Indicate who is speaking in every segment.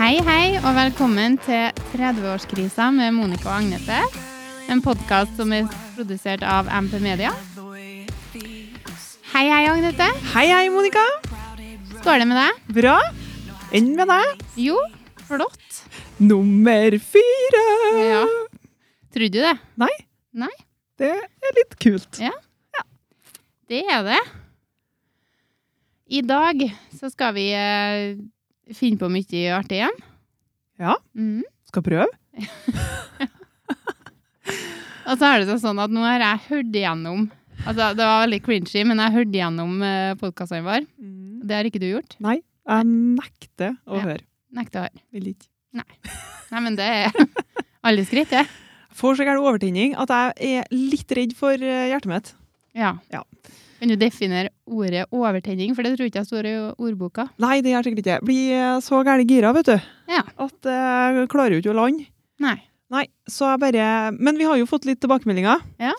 Speaker 1: og velkommen til 30-årskrisa med Monica og Agnete. En podkast som er produsert av MP Media. Hei, hei, Agnete.
Speaker 2: Hei, hei, Monica.
Speaker 1: Står det med deg?
Speaker 2: Bra. Enn med deg.
Speaker 1: Jo, flott.
Speaker 2: Nummer fire.
Speaker 1: Ja. Tror du det?
Speaker 2: Nei,
Speaker 1: Nei,
Speaker 2: det er litt kult.
Speaker 1: det er det. I dag så skal vi eh, finne på mye artig igjen.
Speaker 2: Ja.
Speaker 1: Mhm.
Speaker 2: Skal prøve.
Speaker 1: Og så er det sånn at nå har jeg hørt igjennom Altså, det var veldig cringy, men jeg hørte igjennom eh, podkastene våre. Det har ikke du gjort.
Speaker 2: Nei, jeg nekter å
Speaker 1: Mm. Ja.
Speaker 2: høre.
Speaker 1: Nekter å høre.
Speaker 2: Vil ikke.
Speaker 1: Nei, men det er alle skritt, det.
Speaker 2: Jeg Får så gæren overtenning at jeg er litt redd for eh, hjertet mitt.
Speaker 1: Ja.
Speaker 2: Ja.
Speaker 1: Kan du definere ordet overtenning, for det tror jeg ikke jeg står i ordboka.
Speaker 2: Nei, det gjør jeg sikkert ikke. Jeg Blir eh, så gæren gira, vet du.
Speaker 1: Ja.
Speaker 2: At eh, jeg klarer jo ikke å lande.
Speaker 1: Nei.
Speaker 2: Nei, så jeg bare Men vi har jo fått litt tilbakemeldinger.
Speaker 1: Ja.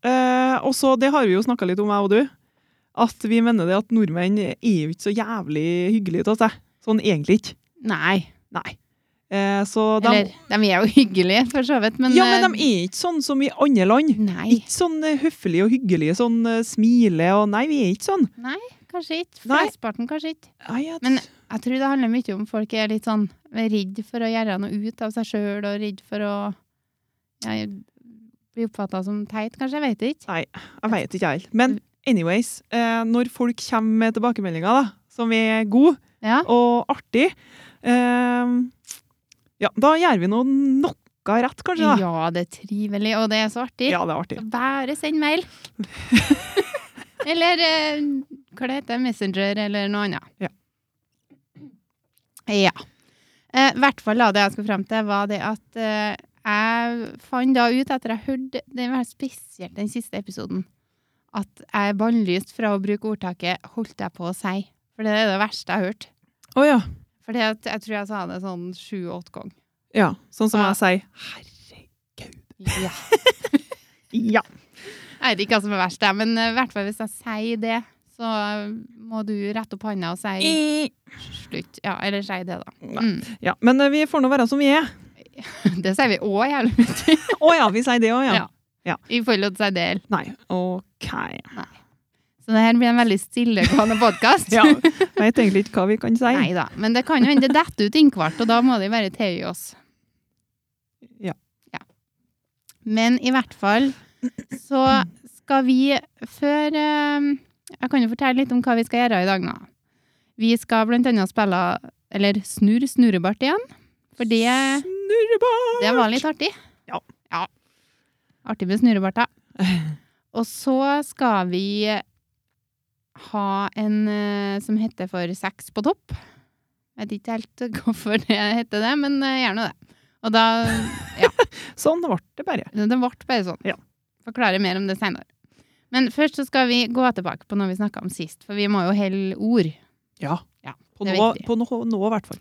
Speaker 2: Eh, og så, det har vi jo snakka litt om, jeg og du, at vi mener det at nordmenn er jo ikke så jævlig hyggelige til seg. Sånn egentlig ikke.
Speaker 1: Nei.
Speaker 2: Nei. Eh, så de,
Speaker 1: Eller, de er jo hyggelige, for så vidt, men
Speaker 2: ja, men de er ikke sånn som i andre land.
Speaker 1: eh, Nei.
Speaker 2: Ikke sånn eh, høflige og hyggelige, sånn eh, smile og Nei, vi er ikke sånn.
Speaker 1: Kanskje ikke.
Speaker 2: Nei.
Speaker 1: Flesteparten kanskje ikke.
Speaker 2: Nei, jeg-
Speaker 1: Men- Jeg tror det handler mye om folk er litt sånn redd for å gjøre noe ut av seg sjøl, og redd for å ja, bli oppfatta som teit, kanskje. Jeg vet ikke.
Speaker 2: jeg vet ikke, jeg heller. Men anyways, eh, når folk kommer med tilbakemeldinger da, som er gode
Speaker 1: Ja.
Speaker 2: og artige, eh, ja, da gjør vi noe, noe rett, kanskje. da.
Speaker 1: ja, det er trivelig, og det er så artig.
Speaker 2: Ja, det er artig.
Speaker 1: Så bare send mail. eller eh, hva det heter, Messenger eller noe annet.
Speaker 2: Ja.
Speaker 1: Ja. Eh, I hvert fall da, det jeg skulle frem til, var det at eh, jeg fant da ut etter jeg hørte den var spesielt den siste episoden, at jeg er bannlyst fra å bruke ordtaket 'holdt jeg på å si'. For det er det verste jeg har hørt.
Speaker 2: Å ja.
Speaker 1: For det at jeg tror jeg sa det sånn sju-åtte ganger.
Speaker 2: ja. Sånn som
Speaker 1: Ja.
Speaker 2: jeg sier. Herregud.
Speaker 1: Ja.
Speaker 2: Ja.
Speaker 1: Jeg vet ikke hva som er verst, jeg, men eh, i hvert fall hvis jeg sier det, så eh, må du rette opp hånda og si slutt. Ja, eller si det, da.
Speaker 2: Nei.
Speaker 1: Mm.
Speaker 2: ja. Men eh, vi får nå være som vi er.
Speaker 1: Det sier vi òg jævlig mye.
Speaker 2: Å ja, vi sier det òg, ja.
Speaker 1: Ja. I forhold til seg del.
Speaker 2: Nei. OK.
Speaker 1: Så det her blir en veldig stillegående podkast.
Speaker 2: Ja. Vet egentlig ikke hva vi kan si.
Speaker 1: Nei da. Men det kan jo hende det detter ut innkvart, og da må de bare tilgi oss.
Speaker 2: Ja.
Speaker 1: ja. Men i hvert fall så skal vi før eh, Jeg kan jo fortelle litt om hva vi skal gjøre i dag nå. Vi skal blant annet spille eller snurr snurrebart igjen. For det,
Speaker 2: Snurrebart!
Speaker 1: det var litt artig.
Speaker 2: Ja.
Speaker 1: ja. Artig med snurrebart, da. Og så skal vi ha en eh, som heter for Sex på topp. Jeg vet ikke helt hvorfor det heter det, men eh, gjør nå det. Og da
Speaker 2: Sånn ble det bare.
Speaker 1: Det ble bare sånn.
Speaker 2: Ja.
Speaker 1: Forklarer mer om det seinere. Men først så skal vi gå tilbake på noe vi snakka om sist, for vi må jo holde ord.
Speaker 2: Ja.
Speaker 1: Ja,
Speaker 2: På
Speaker 1: det er
Speaker 2: nå,
Speaker 1: viktig.
Speaker 2: på nå, nå i hvert fall.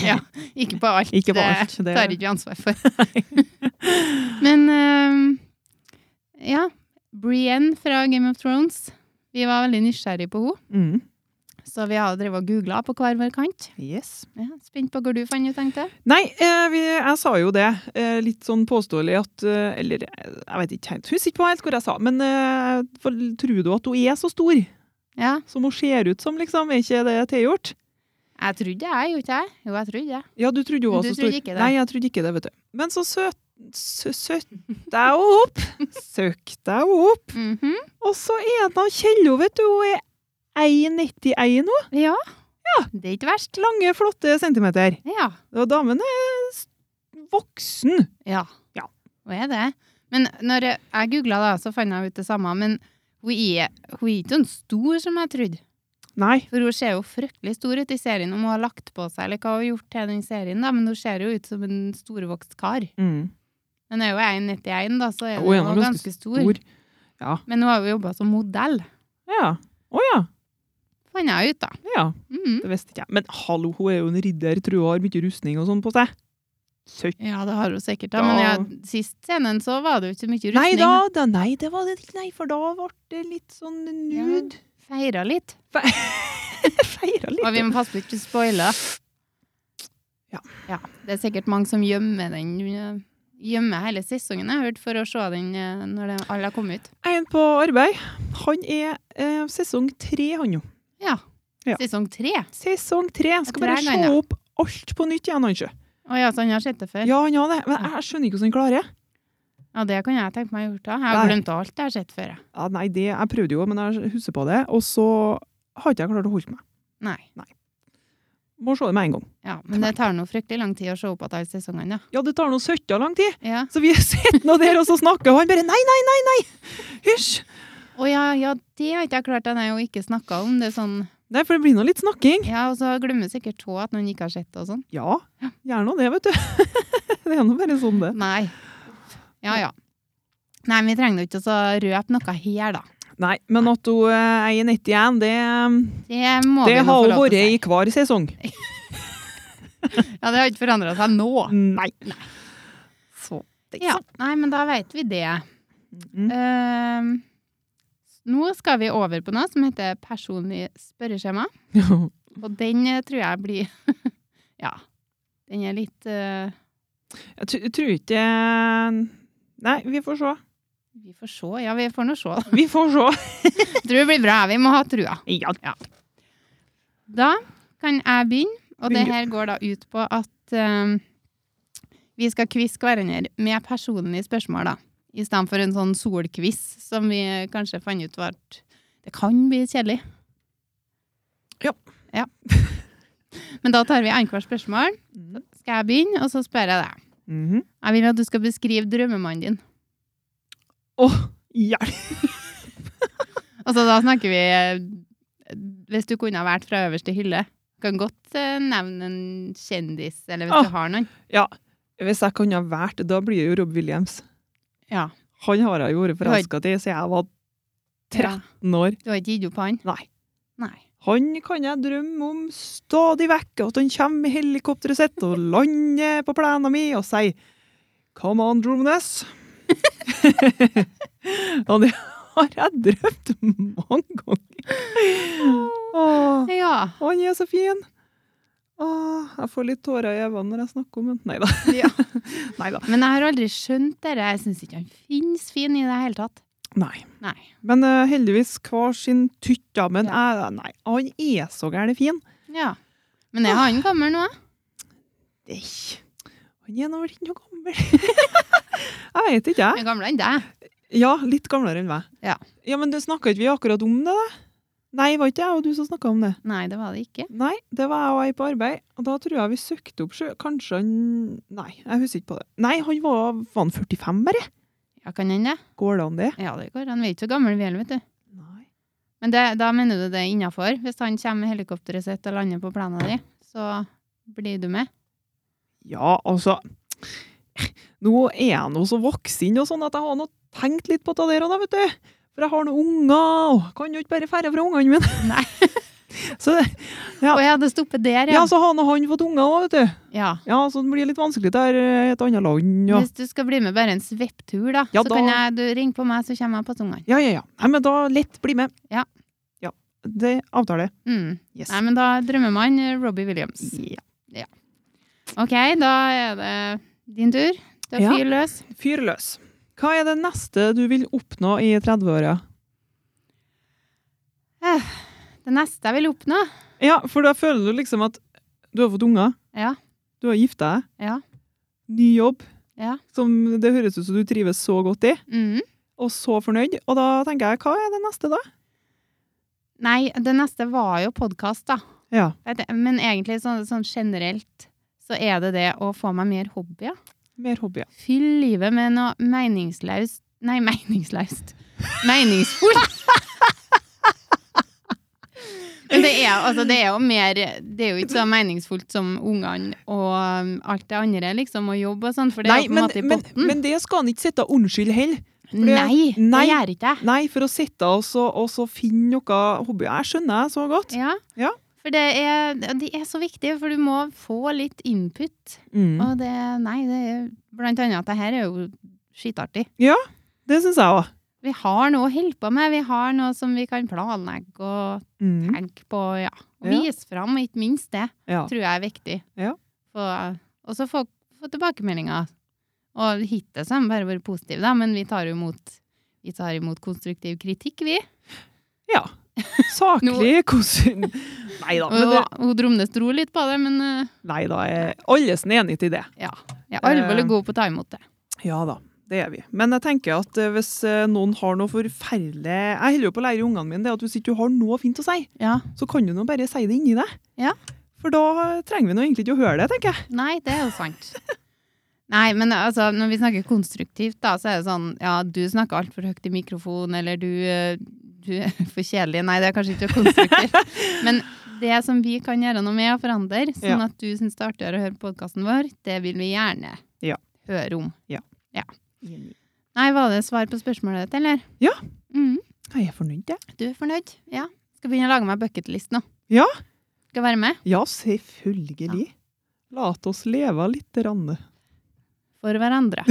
Speaker 1: Ja, ikke på alt. eh,
Speaker 2: Ikke på alt.
Speaker 1: Det
Speaker 2: det-
Speaker 1: tar ikke vi ansvar for. Men eh, ja. Brienne fra Game of Thrones. Vi var veldig nysgjerrige på henne,
Speaker 2: Mm.
Speaker 1: så vi har drevet og googla på hver vår kant.
Speaker 2: Yes.
Speaker 1: Ja, spent på hva du fant ut, tenkte jeg.
Speaker 2: Nei, eh, vi, jeg sa jo det. Eh, litt sånn påståelig at eh, Eller eh, jeg vet ikke helt. Husker ikke på helt hvor jeg sa, men eh, for- tror du at hun er så stor
Speaker 1: Ja.
Speaker 2: som hun ser ut som, liksom? Er ikke det tilgjort?
Speaker 1: Jeg trodde jeg, gjorde ikke jeg? Jo, jeg trodde jeg.
Speaker 2: Ja, du trodde hun var
Speaker 1: Du
Speaker 2: så
Speaker 1: trodde
Speaker 2: stor.
Speaker 1: ikke det.
Speaker 2: Nei, jeg trodde ikke det, vet du. Men så søt... sø- Søtte jeg henne opp! Søkte jeg henne opp!
Speaker 1: Mhm.
Speaker 2: Og så er det Kjello, vet du. Hun er 1,91 nå.
Speaker 1: ja. Det er ikke verst.
Speaker 2: Lange, flotte centimeter.
Speaker 1: Ja.
Speaker 2: Og damen er s- voksen.
Speaker 1: Ja.
Speaker 2: Ja.
Speaker 1: Hun er det. Men når jeg- jeg googla, da, så fant jeg ut det samme. Men hun er, hun er ikke sånn stor som jeg trodde.
Speaker 2: Nei.
Speaker 1: For hun ser jo fryktelig stor ut i serien, om hun har lagt på seg eller hva hun har gjort til den serien, da. Men hun ser jo ut som en storvokst kar.
Speaker 2: Mm.
Speaker 1: Men er jo 1,91, da, så er hun
Speaker 2: Hun er
Speaker 1: jo
Speaker 2: nå
Speaker 1: ganske,
Speaker 2: ganske
Speaker 1: stor.
Speaker 2: Stor. Ja.
Speaker 1: Men hun har jo jobba som modell,
Speaker 2: Ja. Å ja.
Speaker 1: fant jeg ut, da.
Speaker 2: Ja.
Speaker 1: Mhm.
Speaker 2: Det visste ikke jeg. Men hallo, hun er jo en ridder. Tror hun har mye rustning og sånn på seg. Søtt.
Speaker 1: Ja, det har hun sikkert, da.
Speaker 2: Ja.
Speaker 1: Men ja, sist scenen så var det jo ikke så mye
Speaker 2: Nei
Speaker 1: rustning.
Speaker 2: da, da, nei, det var det ikke. Nei, for da ble det litt sånn nude.
Speaker 1: Feira litt.
Speaker 2: Feira litt.
Speaker 1: Og vi må passe på ikke å spoile.
Speaker 2: Ja.
Speaker 1: Det er sikkert mange som gjemmer den eh, Gjemmer hele sesongen, jeg har hørt, for å se den eh, når det, alle har kommet ut.
Speaker 2: En på arbeid. Han er eh, sesong tre, han jo.
Speaker 1: Ja.
Speaker 2: Ja.
Speaker 1: Sesong tre.
Speaker 2: Sesong tre. Skal bare
Speaker 1: Tre
Speaker 2: se
Speaker 1: ganger.
Speaker 2: opp alt på nytt igjen, han sjø.
Speaker 1: Å ja, så han har sett det før?
Speaker 2: Ja, han har det. Men jeg skjønner ikke hvordan han klarer det.
Speaker 1: Ja, det kan jeg tenke meg å gjøre. da. Jeg har
Speaker 2: Nei.
Speaker 1: glemt alt jeg har sett før. jeg.
Speaker 2: Ja, nei, det, jeg prøvde jo, men jeg husker på det. Og så har ikke jeg klart å holde meg.
Speaker 1: Nei.
Speaker 2: Må se det med en gang.
Speaker 1: Ja, men det tar nå fryktelig lang tid å se opp at alle sesongene,
Speaker 2: Ja, det tar nå søtta lang tid.
Speaker 1: da. Ja.
Speaker 2: Så vi sitter nå der, og så snakker han bare nei, nei, nei, nei. Hysj.
Speaker 1: Å ja, ja, det har ikke jeg klart ennå å ikke snakke om. Det er sånn
Speaker 2: Nei, for det blir nå litt snakking.
Speaker 1: Ja, og så glemmer sikkert tå at noen ikke har sett det og sånn.
Speaker 2: Ja, gjerne det, vet du. det er nå bare sånn det.
Speaker 1: Nei. Ja, ja. Nei, men vi trenger jo ikke å røpe noe her, da.
Speaker 2: Nei, men at hun eh, er i 91, det,
Speaker 1: Det må vi nå
Speaker 2: det har hun
Speaker 1: forholde
Speaker 2: vært
Speaker 1: oss
Speaker 2: i hver sesong.
Speaker 1: til. Ja, det har ikke forandra seg nå.
Speaker 2: Nei. Så det er
Speaker 1: Ja,
Speaker 2: ikke sant.
Speaker 1: nei, men da veit vi det.
Speaker 2: Mm.
Speaker 1: Ehm, nå skal vi over på noe som heter personlig spørreskjema. Og den eh, tror jeg blir Ja. Den er litt eh,
Speaker 2: Jeg tr- tror ikke eh, Nei, vi får se.
Speaker 1: Vi får se. Ja, vi får nå se. da.
Speaker 2: Vi får se.
Speaker 1: Tror det blir bra. Vi må ha trua.
Speaker 2: Ja.
Speaker 1: Da kan jeg begynne, og det
Speaker 2: Begynn du.
Speaker 1: her går da ut på at eh, vi skal kviske hverandre med personlige spørsmål, da. I stedet for en sånn solquiz som vi kanskje fant ut var at Det kan bli kjedelig.
Speaker 2: Ja.
Speaker 1: ja. Men da tar vi annethvert spørsmål.
Speaker 2: Mhm.
Speaker 1: Skal jeg begynne, og så spør jeg deg.
Speaker 2: Mhm.
Speaker 1: Jeg vil at du skal beskrive drømmemannen din.
Speaker 2: Hjelp.
Speaker 1: Altså, da snakker vi eh, Hvis du kunne ha vært fra øverste hylle. Kan godt eh, nevne en kjendis, eller hvis
Speaker 2: Åh.
Speaker 1: du har noen.
Speaker 2: Ja. Hvis jeg kunne ha valgt, da blir det jo Rob Williams.
Speaker 1: Ja.
Speaker 2: Han har jeg jo vært
Speaker 1: Du har-
Speaker 2: forelska i, så jeg var
Speaker 1: Ja.
Speaker 2: 13 år.
Speaker 1: Du har ikke gitt opp han?
Speaker 2: Nei.
Speaker 1: Nei.
Speaker 2: Han kan jeg drømme om stadig vekk, at han kommer med helikopteret sitt og lander på plenen min og sier Come on, Drones. og det har jeg drømt mange ganger. Åh,
Speaker 1: Ja.
Speaker 2: han er så fin. Åh, jeg får litt tårer i øynene når jeg snakker om ham. Nei da.
Speaker 1: Ja.
Speaker 2: Nei da.
Speaker 1: Men jeg har aldri skjønt det. Jeg syns ikke han finnes fin i det hele tatt.
Speaker 2: Nei.
Speaker 1: Nei.
Speaker 2: Men eh, heldigvis hver sin tytt, da. Men
Speaker 1: Ja.
Speaker 2: jeg- nei, han er så gæren fin.
Speaker 1: Ja. Men er han gammel nå? da?
Speaker 2: Nei, han er nå vel ikke noe gammel. jeg vet ikke, jeg.
Speaker 1: Han er gamlere enn deg.
Speaker 2: Ja, litt gamlere enn meg.
Speaker 1: Ja.
Speaker 2: ja men snakka ikke vi akkurat om det, da? Nei, var ikke jeg og du som snakka om det?
Speaker 1: Nei, det var det ikke.
Speaker 2: Nei, det var jeg og ei på arbeid. Og da tror jeg vi søkte opp sjø. Kanskje han Nei, jeg husker ikke på det. Nei, han var, var han 45, bare?
Speaker 1: Ja, Kan hende det.
Speaker 2: Går det an, det?
Speaker 1: Ja, det går. Han er ikke så gammel vi heller, vet du.
Speaker 2: Nei.
Speaker 1: Men det, da mener du det er innafor? Hvis han kommer med helikopteret sitt og lander på plenen din, så blir du med?
Speaker 2: Ja, altså Nå er jeg nå så voksen og sånn at jeg har nå tenkt litt på det der òg, da, vet du. For jeg har nå unger, og kan jo ikke bare fære fra ungene mine.
Speaker 1: Nei.
Speaker 2: så,
Speaker 1: Å
Speaker 2: Ja.
Speaker 1: ja, det stopper der,
Speaker 2: ja,
Speaker 1: ja.
Speaker 2: så har nå han fått unger òg, vet du.
Speaker 1: ja.
Speaker 2: Ja, så det blir litt vanskelig der eh, i et annet land. Og...
Speaker 1: Hvis du skal bli med bare en svepptur, da,
Speaker 2: Ja,
Speaker 1: så
Speaker 2: da-
Speaker 1: kan jeg, du ringe på meg, så kommer jeg på tungene.
Speaker 2: Ja, ja, ja. Nei, men da lett bli med.
Speaker 1: Ja.
Speaker 2: ja. Det avtale.
Speaker 1: Mm.
Speaker 2: Yes.
Speaker 1: Nei, men da drømmer man eh, Robbie Williams.
Speaker 2: Ja.
Speaker 1: Ok, da er det din tur. Du er
Speaker 2: Ja.
Speaker 1: fyr løs.
Speaker 2: Fyr løs. Hva er det neste du vil oppnå i 30-åra?
Speaker 1: Det neste jeg vil oppnå
Speaker 2: Ja, for da føler du liksom at du har fått unger,
Speaker 1: Ja.
Speaker 2: du har gifta deg,
Speaker 1: Ja.
Speaker 2: ny jobb.
Speaker 1: ja.
Speaker 2: som det høres ut som du trives så godt i,
Speaker 1: Mm.
Speaker 2: og så fornøyd. Og da tenker jeg, hva er det neste da?
Speaker 1: Nei, det neste var jo podkast, da.
Speaker 2: Ja.
Speaker 1: Vet jeg- Men egentlig sånn, sånn generelt så er det det å få meg mer hobbyer.
Speaker 2: Mer hobbyer.
Speaker 1: Fyll livet med noe meningsløst Nei, meningsløst. Meningsfullt! Men det er, altså, det er jo mer Det er jo ikke så meningsfullt som ungene og um, alt det andre, liksom, og jobb og sånn, for det er jo på en
Speaker 2: men,
Speaker 1: måte i
Speaker 2: men,
Speaker 1: potten.
Speaker 2: men det skal han ikke sitte og unnskylde heller. det-
Speaker 1: nei, det
Speaker 2: nei.
Speaker 1: gjør ikke jeg.
Speaker 2: Nei, for å sitte og, så- og så finne noe hobbyer. Jeg skjønner jeg så godt.
Speaker 1: Ja.
Speaker 2: Ja.
Speaker 1: For det er, det er så viktig, for du må få litt input.
Speaker 2: Mm.
Speaker 1: Og det, nei, det er, blant annet at det her er jo skitartig.
Speaker 2: Det synes jeg også.
Speaker 1: Vi har noe å holde på med, vi har noe som vi kan planlegge og
Speaker 2: Mm.
Speaker 1: tenke på, ja. Og
Speaker 2: Ja.
Speaker 1: vise fram, og ikke minst det,
Speaker 2: Ja.
Speaker 1: tror jeg er viktig.
Speaker 2: Ja.
Speaker 1: få, og så få, få tilbakemeldinger. Og hittil så har de bare vært positive, da, men vi tar, jo imot, vi tar imot konstruktiv kritikk, vi.
Speaker 2: Ja. Saklig hvordan Nei da. Men
Speaker 1: Og,
Speaker 2: det,
Speaker 1: hun Dromnes dro litt på det, men eh,
Speaker 2: nei da er allesen enig til det.
Speaker 1: jeg er alvorlig
Speaker 2: Eh.
Speaker 1: god på å ta imot det.
Speaker 2: Ja da, det er vi. Men jeg tenker at eh, hvis eh, noen har noe forferdelig Jeg holder jo på å lære ungene mine det at hvis ikke du har noe fint å si,
Speaker 1: Ja.
Speaker 2: så kan du nå bare si det inni deg.
Speaker 1: Ja.
Speaker 2: For da eh, trenger vi nå egentlig ikke å høre det, tenker jeg.
Speaker 1: Nei, det er jo sant. Nei, men altså, når vi snakker konstruktivt, da, så er det sånn Ja, du snakker altfor høyt i mikrofon, eller du, eh, du er for kjedelig. Nei, det er kanskje ikke konstruktivt. Men det som vi kan gjøre noe med og forandre, sånn
Speaker 2: Ja.
Speaker 1: at du syns det er artigere å høre podkasten vår, det vil vi gjerne
Speaker 2: Ja.
Speaker 1: høre om.
Speaker 2: Nei,
Speaker 1: Nei, var det svar på spørsmålet ditt, eller?
Speaker 2: Ja.
Speaker 1: Mhm.
Speaker 2: Jeg er fornøyd, jeg.
Speaker 1: Du er fornøyd? Ja. Skal begynne å lage meg bucketlist nå.
Speaker 2: Ja.
Speaker 1: Skal være med?
Speaker 2: Ja, selvfølgelig. La oss leve litt. Ranne.
Speaker 1: For hverandre.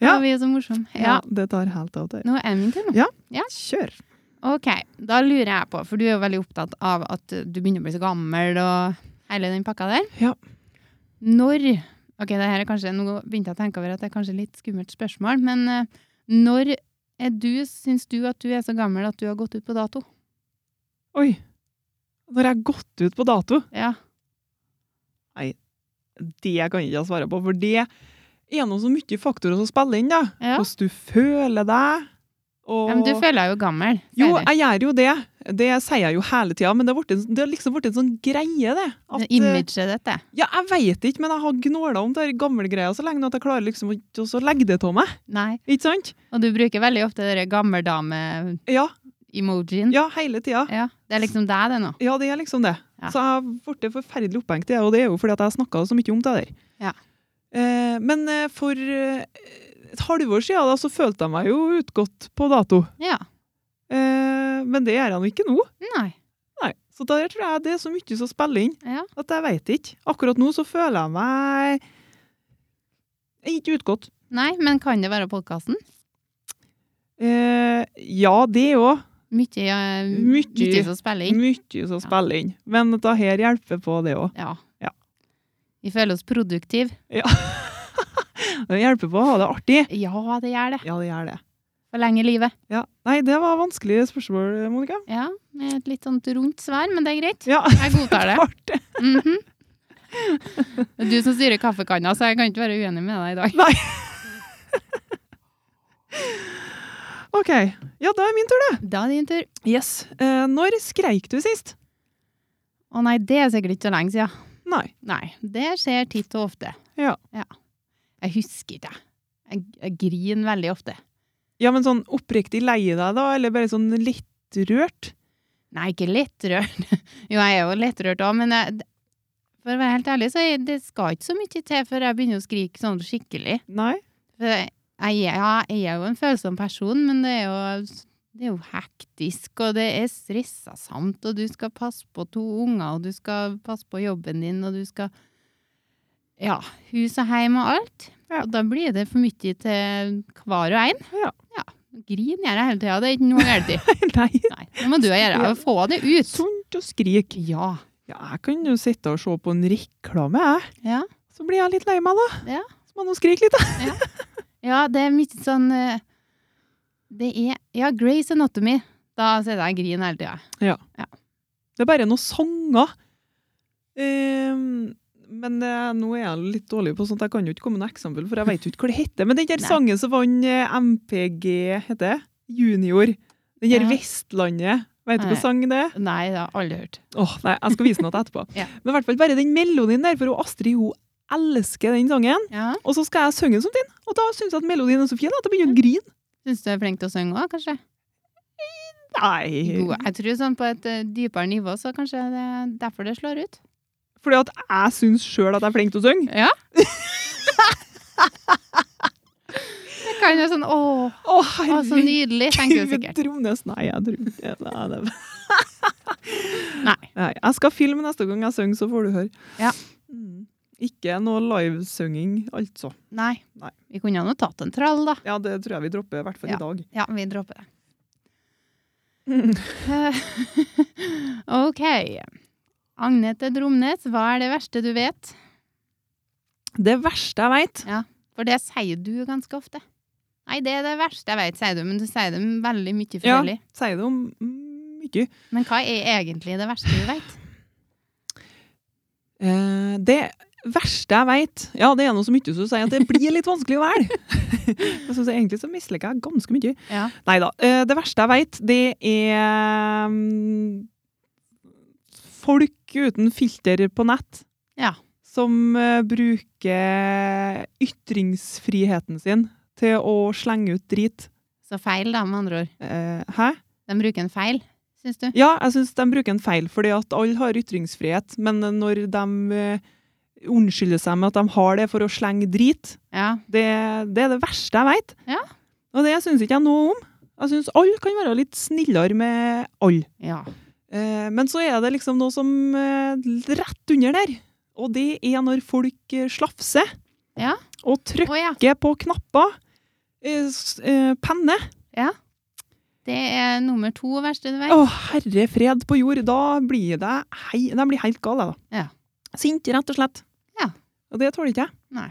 Speaker 2: Ja.
Speaker 1: Å, vi er så morsomme.
Speaker 2: Ja,
Speaker 1: Ja.
Speaker 2: det tar helt av det.
Speaker 1: Nå er min tur, nå.
Speaker 2: Kjør.
Speaker 1: Ok, da lurer jeg på, for du er jo veldig opptatt av at du begynner å bli så gammel og hele den pakka der.
Speaker 2: Ja.
Speaker 1: Når Ok, det her er kanskje, nå begynte jeg å tenke over at det er kanskje litt skummelt spørsmål, men eh, når er du, syns du at du er så gammel at du har gått ut på dato?
Speaker 2: Oi. Når jeg har gått ut på dato,
Speaker 1: Ja.
Speaker 2: det kan jeg ikke svare på, for det er noe så mye faktorer som spiller inn, da.
Speaker 1: Ja.
Speaker 2: Hvordan du føler deg. Og...
Speaker 1: ja men du føler deg jo gammel. sier
Speaker 2: Jo,
Speaker 1: du.
Speaker 2: jeg gjør jo det. Det sier jeg jo hele tida, men det har, vært en, det har liksom blitt en sånn greie, det. At,
Speaker 1: Det
Speaker 2: eh,
Speaker 1: Imaget ditt, det.
Speaker 2: Ja, jeg veit ikke, men jeg har gnåla om det her gamle greia så lenge nå at jeg klarer liksom ikke å så legge det av meg.
Speaker 1: Nei.
Speaker 2: Ikke sant?
Speaker 1: Og du bruker veldig ofte den gammeldame-emojien.
Speaker 2: Ja, ja hele tida.
Speaker 1: Mm. Ja, Det er liksom deg, det nå.
Speaker 2: Ja, det er liksom det.
Speaker 1: Ja.
Speaker 2: Så jeg har blitt forferdelig opphengt i det, og det er jo fordi at jeg snakka så mye om det der.
Speaker 1: Ja.
Speaker 2: Eh, men eh, for eh, et halvår siden da, så følte jeg meg jo utgått på dato.
Speaker 1: Ja.
Speaker 2: Eh, men det gjør jeg nå ikke nå.
Speaker 1: Nei.
Speaker 2: Nei. Så der tror jeg det er så mye som spiller inn
Speaker 1: Ja.
Speaker 2: at jeg veit ikke. Akkurat nå så føler jeg meg jeg er ikke utgått.
Speaker 1: Nei, men kan det være podkasten?
Speaker 2: Eh, ja, det òg.
Speaker 1: Mye, ja,
Speaker 2: Mye.
Speaker 1: mye som spiller inn.
Speaker 2: Mye som
Speaker 1: Ja.
Speaker 2: spiller inn. Men dette her hjelper på det òg.
Speaker 1: Ja.
Speaker 2: Ja.
Speaker 1: Vi føler oss produktive.
Speaker 2: Det hjelper på å ha det artig.
Speaker 1: Ja, det gjør det.
Speaker 2: Ja, det gjør det.
Speaker 1: Forlenge livet.
Speaker 2: Ja. Nei, det var vanskelige spørsmål, Monica.
Speaker 1: Ja, med et litt sånt rundt svar, men det er greit.
Speaker 2: Ja,
Speaker 1: Jeg godtar det.
Speaker 2: artig.
Speaker 1: Mhm. Det er Du som styrer kaffekanna, så jeg kan ikke være uenig med deg i dag.
Speaker 2: OK. Ja, da er min tur,
Speaker 1: Da er det din tur.
Speaker 2: da. Yes. Eh, når skreik du sist?
Speaker 1: Å nei, det er sikkert ikke så lenge siden.
Speaker 2: Nei.
Speaker 1: Nei, det skjer titt og ofte.
Speaker 2: Ja.
Speaker 1: Jeg husker ikke, jeg. Jeg, jeg griner veldig ofte.
Speaker 2: Ja, men sånn oppriktig lei deg, da? Eller bare sånn litt rørt?
Speaker 1: Nei, ikke lettrørt. Jo, jeg er jo lettrørt òg, men jeg, for å være helt ærlig, så er det skal ikke så mye til før jeg begynner å skrike sånn skikkelig.
Speaker 2: Nei?
Speaker 1: For jeg, jeg, er- ja, jeg er jo en følsom person, men det er jo, det er jo hektisk, og det er stressa samt, og du skal passe på to unger, og du skal passe på jobben din, og du skal Ja, hus og heim og alt.
Speaker 2: Ja.
Speaker 1: Og da blir det for mye til hver og en.
Speaker 2: Ja.
Speaker 1: Grin gjør jeg hele tida, det er ikke noe å gjøre til.
Speaker 2: Nei.
Speaker 1: Nei, det må du gjøre. jeg må Få det ut.
Speaker 2: Sunt å skrike.
Speaker 1: Ja.
Speaker 2: Ja, jeg kan jo sitte og se på en reklame, jeg.
Speaker 1: Ja.
Speaker 2: Så blir jeg litt lei meg, da.
Speaker 1: Ja.
Speaker 2: Så må jeg nå skrike litt, da.
Speaker 1: Ja, det er mye sånn eh, Det er Ja, Grace Anatomy. Da sitter jeg og griner hele tida.
Speaker 2: Det er bare noen sanger. Ehm, men eh, nå er jeg litt dårlig på sånt, jeg kan jo ikke komme med noe eksempel, for jeg vet jo ikke hva det heter. Men den der
Speaker 1: Nei.
Speaker 2: sangen som vant eh, MPG, heter det? Junior. Den der
Speaker 1: Ja.
Speaker 2: Vestlandet. Vet du
Speaker 1: Nei.
Speaker 2: hva sang det er?
Speaker 1: Nei, det har jeg aldri hørt.
Speaker 2: Åh, nei, jeg skal vise den til etterpå.
Speaker 1: Ja.
Speaker 2: Men i hvert fall bare den melodien der, for hun Astrid hun elsker den sangen.
Speaker 1: Ja.
Speaker 2: Og så skal jeg synge den som din, og da syns jeg at melodien er så fin at jeg begynner å grine.
Speaker 1: Syns du jeg er flink til å synge òg, kanskje?
Speaker 2: Nei.
Speaker 1: God. Jeg tror sånn på et eh, dypere nivå, så kanskje det er derfor det slår ut.
Speaker 2: Fordi at jeg syns sjøl at jeg er flink til å synge.
Speaker 1: Ja. det kan jo sånn Å,
Speaker 2: Å,
Speaker 1: å så
Speaker 2: herregud.
Speaker 1: nydelig, tenker du
Speaker 2: Gud,
Speaker 1: Altså, sikkert.
Speaker 2: Tromnes. Nei, jeg tror ikke det. Nei, det.
Speaker 1: Nei.
Speaker 2: Nei, jeg skal filme neste gang jeg synger, så får du høre.
Speaker 1: Ja.
Speaker 2: Mm. Ikke noe livesynging, altså.
Speaker 1: Nei.
Speaker 2: Nei.
Speaker 1: Vi kunne jo nå tatt en trall, da.
Speaker 2: Ja, det tror jeg vi dropper, i hvert fall
Speaker 1: Ja.
Speaker 2: i dag.
Speaker 1: Ja, vi dropper det.
Speaker 2: Mm.
Speaker 1: Eh, OK. Agnete Dromnes, hva er det verste du vet?
Speaker 2: Det verste jeg veit
Speaker 1: For det sier du ganske ofte. Nei, det er det verste jeg vet, sier du, men du sier det veldig mye
Speaker 2: Ja.
Speaker 1: forskjellig.
Speaker 2: Sier det om mye.
Speaker 1: Men hva er egentlig det verste du vet?
Speaker 2: Eh, det verste jeg veit Ja, det er noe så mye som du sier at det blir litt vanskelig å velge. Jeg synes Egentlig så misliker jeg ganske mye.
Speaker 1: Ja.
Speaker 2: Nei da. Det verste jeg veit, det er mm, folk uten filter på nett.
Speaker 1: Ja.
Speaker 2: Som eh, bruker ytringsfriheten sin til å slenge ut drit.
Speaker 1: Så feil, da, med andre ord.
Speaker 2: Eh, Hæ?
Speaker 1: De bruker en feil, syns du?
Speaker 2: Ja, jeg syns de bruker en feil, fordi at alle har ytringsfrihet. Men når de eh, unnskylder seg med at de har det for å slenge drit,
Speaker 1: Ja.
Speaker 2: det, det er det verste jeg veit.
Speaker 1: Ja.
Speaker 2: Og det syns ikke jeg noe om. Jeg syns alle kan være litt snillere med alle.
Speaker 1: ja.
Speaker 2: Eh, men så er det liksom noe som eh, rett under der. Og det er når folk eh, slafser
Speaker 1: Ja.
Speaker 2: og
Speaker 1: Å
Speaker 2: trykker
Speaker 1: ja.
Speaker 2: på knapper. Eh, s- eh, penne.
Speaker 1: Det er nummer to verste du vet.
Speaker 2: Å, herre fred på jord. Da blir det hei, de blir helt gale, da.
Speaker 1: Ja.
Speaker 2: Sint, rett og slett.
Speaker 1: Ja.
Speaker 2: Og det tåler ikke jeg.
Speaker 1: Nei.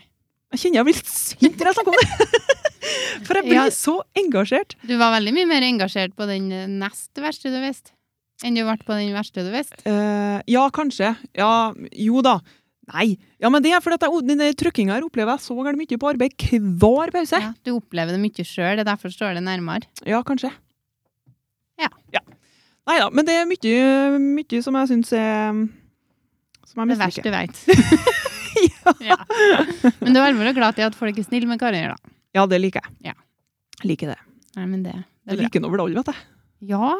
Speaker 2: Jeg kjenner jeg blir litt sint når jeg snakker om det. For jeg blir
Speaker 1: Ja.
Speaker 2: så engasjert.
Speaker 1: Du var veldig mye mer engasjert på den eh, nest verste du visste, enn du ble på den verste du visste.
Speaker 2: Eh, ja, kanskje. Ja, jo da. Nei. Ja, men det er fordi at jeg, den der trykkinga her opplever jeg så gærent mye på arbeid hver pause.
Speaker 1: Ja, du opplever det mye sjøl, det er derfor står det nærmere.
Speaker 2: Ja, kanskje.
Speaker 1: Ja.
Speaker 2: Nei da, men det er mye, mye som jeg syns er Som jeg
Speaker 1: Det
Speaker 2: misliker.
Speaker 1: verste du vet. ja. Men du er veldig glad i at folk er snille med hverandre, da.
Speaker 2: Ja, det liker jeg.
Speaker 1: Ja.
Speaker 2: Jeg Liker det.
Speaker 1: Nei, men det, det
Speaker 2: Jeg
Speaker 1: er bra.
Speaker 2: liker nå vel alle, vet jeg.
Speaker 1: Ja,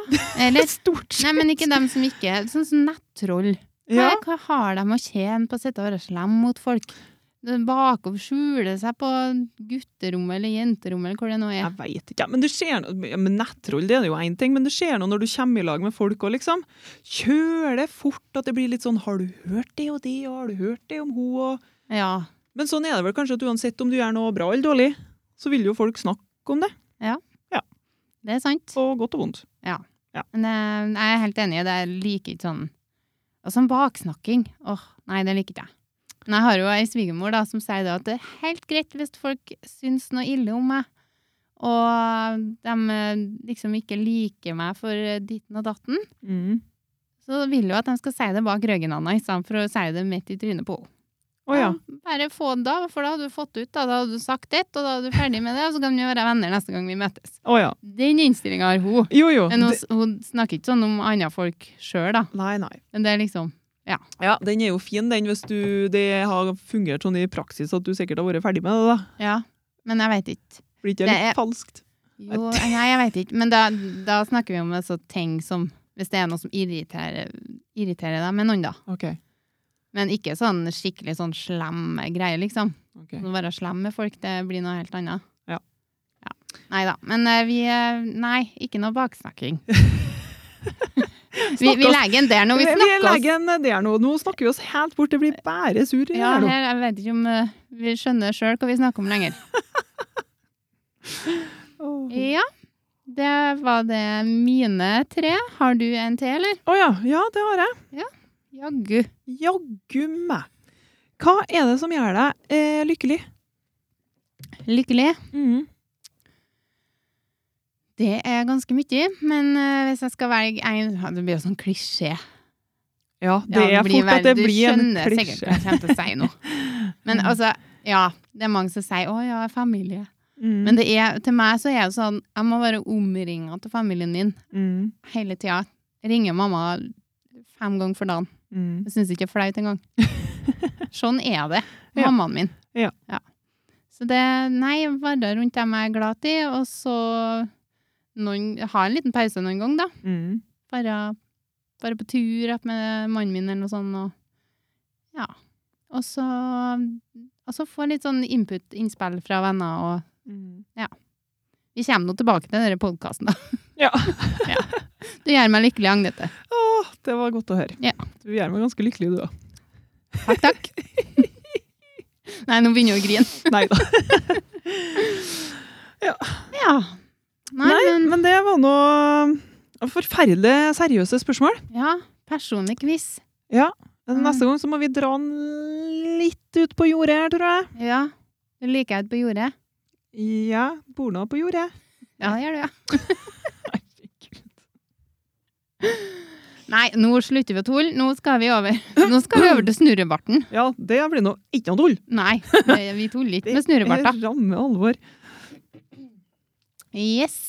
Speaker 1: eller
Speaker 2: Stort sett.
Speaker 1: Nei, men ikke dem som ikke Sånn som nettroll.
Speaker 2: Ja.
Speaker 1: Hva- Hva har de å tjene på å sitte og være slem mot folk? De Bakover skjule seg på gutterommet eller jenterommet eller hvor det nå er.
Speaker 2: Jeg veit ikke. ja, Men du ser nå ja, men Nettroll det er jo én ting, men du ser nå når du kommer i lag med folk og liksom kjøler fort, at det blir litt sånn 'Har du hørt det og det, og har du hørt det om hun?' og
Speaker 1: Ja.
Speaker 2: Men sånn er det vel kanskje at uansett om du gjør noe bra eller dårlig, så vil jo folk snakke om det,
Speaker 1: Det er sant.
Speaker 2: på godt og vondt.
Speaker 1: Men eh, jeg er helt enig, i det Jeg liker ikke sånn Og sånn baksnakking. Åh, nei, det liker ikke jeg. Men jeg har jo ei svigermor da, som sier det at det er helt greit hvis folk syns noe ille om meg, og de eh, liksom ikke liker meg for eh, ditten og datten.
Speaker 2: Mm.
Speaker 1: Så vil jo at de skal si det bak ryggen hans, i stedet for å si det midt i trynet på henne.
Speaker 2: Å ja.
Speaker 1: Bare få det da, for da hadde du fått ut, da, da hadde du sagt det, og da er du ferdig med det, og så kan vi være venner neste gang vi møtes.
Speaker 2: Å ja.
Speaker 1: Den innstillinga har hun.
Speaker 2: Jo, jo.
Speaker 1: Men hun,
Speaker 2: det-
Speaker 1: hun snakker ikke sånn om andre folk sjøl, da.
Speaker 2: nei, nei.
Speaker 1: Men det er liksom
Speaker 2: Ja, den er jo fin, den, hvis du, det har fungert sånn i praksis at du sikkert har vært ferdig med det, da.
Speaker 1: Ja. Men jeg veit ikke.
Speaker 2: Blir ikke
Speaker 1: Det
Speaker 2: det
Speaker 1: er-
Speaker 2: litt falskt?
Speaker 1: Jo, nei, jeg vet ikke. Men da, da snakker vi om en sånn ting som Hvis det er noe som irriterer, irriterer deg med noen, da.
Speaker 2: Ok.
Speaker 1: Men ikke sånn skikkelig sånn slem greie, liksom.
Speaker 2: ok.
Speaker 1: Å være slem med folk, det blir noe helt annet.
Speaker 2: Mm. Ja.
Speaker 1: ja. Nei da. Men eh, vi eh, Nei, ikke noe baksnakking. vi, vi
Speaker 2: oss-
Speaker 1: legger en der når vi
Speaker 2: Vi, vi
Speaker 1: snakker oss.
Speaker 2: legger en der nå. Nå snakker vi oss helt bort. Det blir bare sur. i
Speaker 1: Ja,
Speaker 2: her nå.
Speaker 1: her, jeg vet ikke om eh, vi skjønner sjøl hva vi snakker om lenger.
Speaker 2: Åh.
Speaker 1: Ja. Det var det mine tre. Har du en til, eller?
Speaker 2: Å ja. Ja, det har jeg.
Speaker 1: Jaggu.
Speaker 2: Jaggu meg. Hva er det som gjør deg eh, lykkelig?
Speaker 1: Lykkelig. Mm. Det er ganske mye, men eh, hvis jeg skal velge en ja, Det blir jo sånn klisjé.
Speaker 2: Ja, det
Speaker 1: Ja,
Speaker 2: er fort
Speaker 1: vel-
Speaker 2: at det blir en
Speaker 1: Du skjønner sikkert hva
Speaker 2: klisjé.
Speaker 1: jeg kommer til å si nå. Men
Speaker 2: Mm.
Speaker 1: altså, ja, det er mange som sier 'å ja, familie'.
Speaker 2: Mm.
Speaker 1: Men det er, til meg så er det sånn, jeg må være omringa til familien min
Speaker 2: Mm.
Speaker 1: hele tida. Ringer mamma fem ganger for dagen.
Speaker 2: Mm.
Speaker 1: Jeg syns ikke det er flaut engang. Sånn er det.
Speaker 2: Ja.
Speaker 1: Mammaen min.
Speaker 2: Ja.
Speaker 1: Så det, nei, være rundt dem jeg er glad i, og så noen, ha en liten pause noen gang, da.
Speaker 2: Mm.
Speaker 1: Bare, bare på tur opp med mannen min eller noe sånt. Og, ja. og, så, og så få litt sånn input, innspill fra venner. Og
Speaker 2: Mm.
Speaker 1: vi kommer nå tilbake til denne podkasten, da.
Speaker 2: Ja.
Speaker 1: Ja. Du gjør meg lykkelig, Agnete.
Speaker 2: Åh, det var godt å høre.
Speaker 1: Ja.
Speaker 2: Du gjør meg ganske lykkelig, du òg.
Speaker 1: Takk, takk. Nei, nå begynner jeg å grine.
Speaker 2: Nei da.
Speaker 1: Ja. Nei,
Speaker 2: Nei,
Speaker 1: men
Speaker 2: men det var nå forferdelig eh, seriøse spørsmål.
Speaker 1: Ja, personlig quiz.
Speaker 2: Men
Speaker 1: Mm.
Speaker 2: Neste gang så må vi dra den litt ut på jordet her, tror jeg.
Speaker 1: Ja. Du liker jeg det på jordet?
Speaker 2: Ja, bor nå på jordet.
Speaker 1: Ja, det gjør du, ja.
Speaker 2: Herregud.
Speaker 1: Nei, nå slutter vi å tulle. Nå skal vi over Nå skal vi over til snurrebarten.
Speaker 2: Ja, det blir nå ikke noe tull.
Speaker 1: Nei, det- vi tuller ikke med snurrebarter.
Speaker 2: Det er ramme alvor.
Speaker 1: Yes.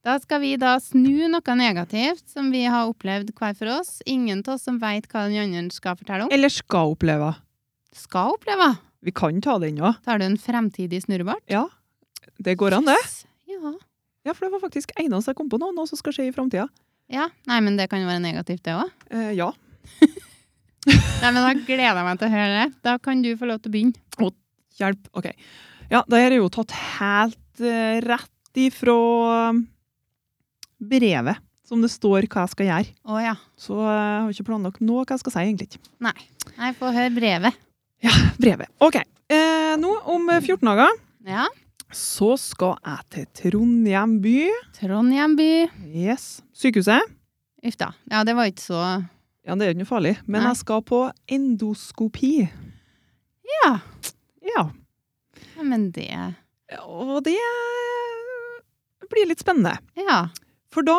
Speaker 1: Da skal vi da snu noe negativt som vi har opplevd hver for oss. Ingen av oss som vet hva den andre skal fortelle om.
Speaker 2: Eller skal oppleve.
Speaker 1: Skal oppleve.
Speaker 2: Vi kan ta den òg.
Speaker 1: Tar du en fremtidig snurrebart?
Speaker 2: Ja, det går an, det.
Speaker 1: Yes. Ja.
Speaker 2: Ja, for det var faktisk eneste jeg kom på nå, noe som skal skje i framtida.
Speaker 1: ja. Nei, men det kan jo være negativt, det òg.
Speaker 2: Eh, ja.
Speaker 1: Nei, men da gleder jeg meg til å høre det. Da kan du få lov til å begynne.
Speaker 2: Hjelp. OK. Ja, det her er jo tatt helt eh, rett ifra eh, brevet, som det står hva jeg skal gjøre.
Speaker 1: Å ja.
Speaker 2: Så eh, jeg har ikke planlagt nå hva jeg skal si, egentlig.
Speaker 1: Nei, få høre brevet.
Speaker 2: Brevet. OK. Eh, nå, om eh, 14 dager,
Speaker 1: Ja.
Speaker 2: så skal jeg til Trondheim by.
Speaker 1: Trondheim by.
Speaker 2: Yes. Sykehuset.
Speaker 1: Uff da. Ja, det var ikke så
Speaker 2: Ja, det er jo ikke noe farlig. Men
Speaker 1: Nei.
Speaker 2: jeg skal på endoskopi.
Speaker 1: Ja.
Speaker 2: Ja.
Speaker 1: ja men det
Speaker 2: Og det eh, blir litt spennende.
Speaker 1: Ja.
Speaker 2: For da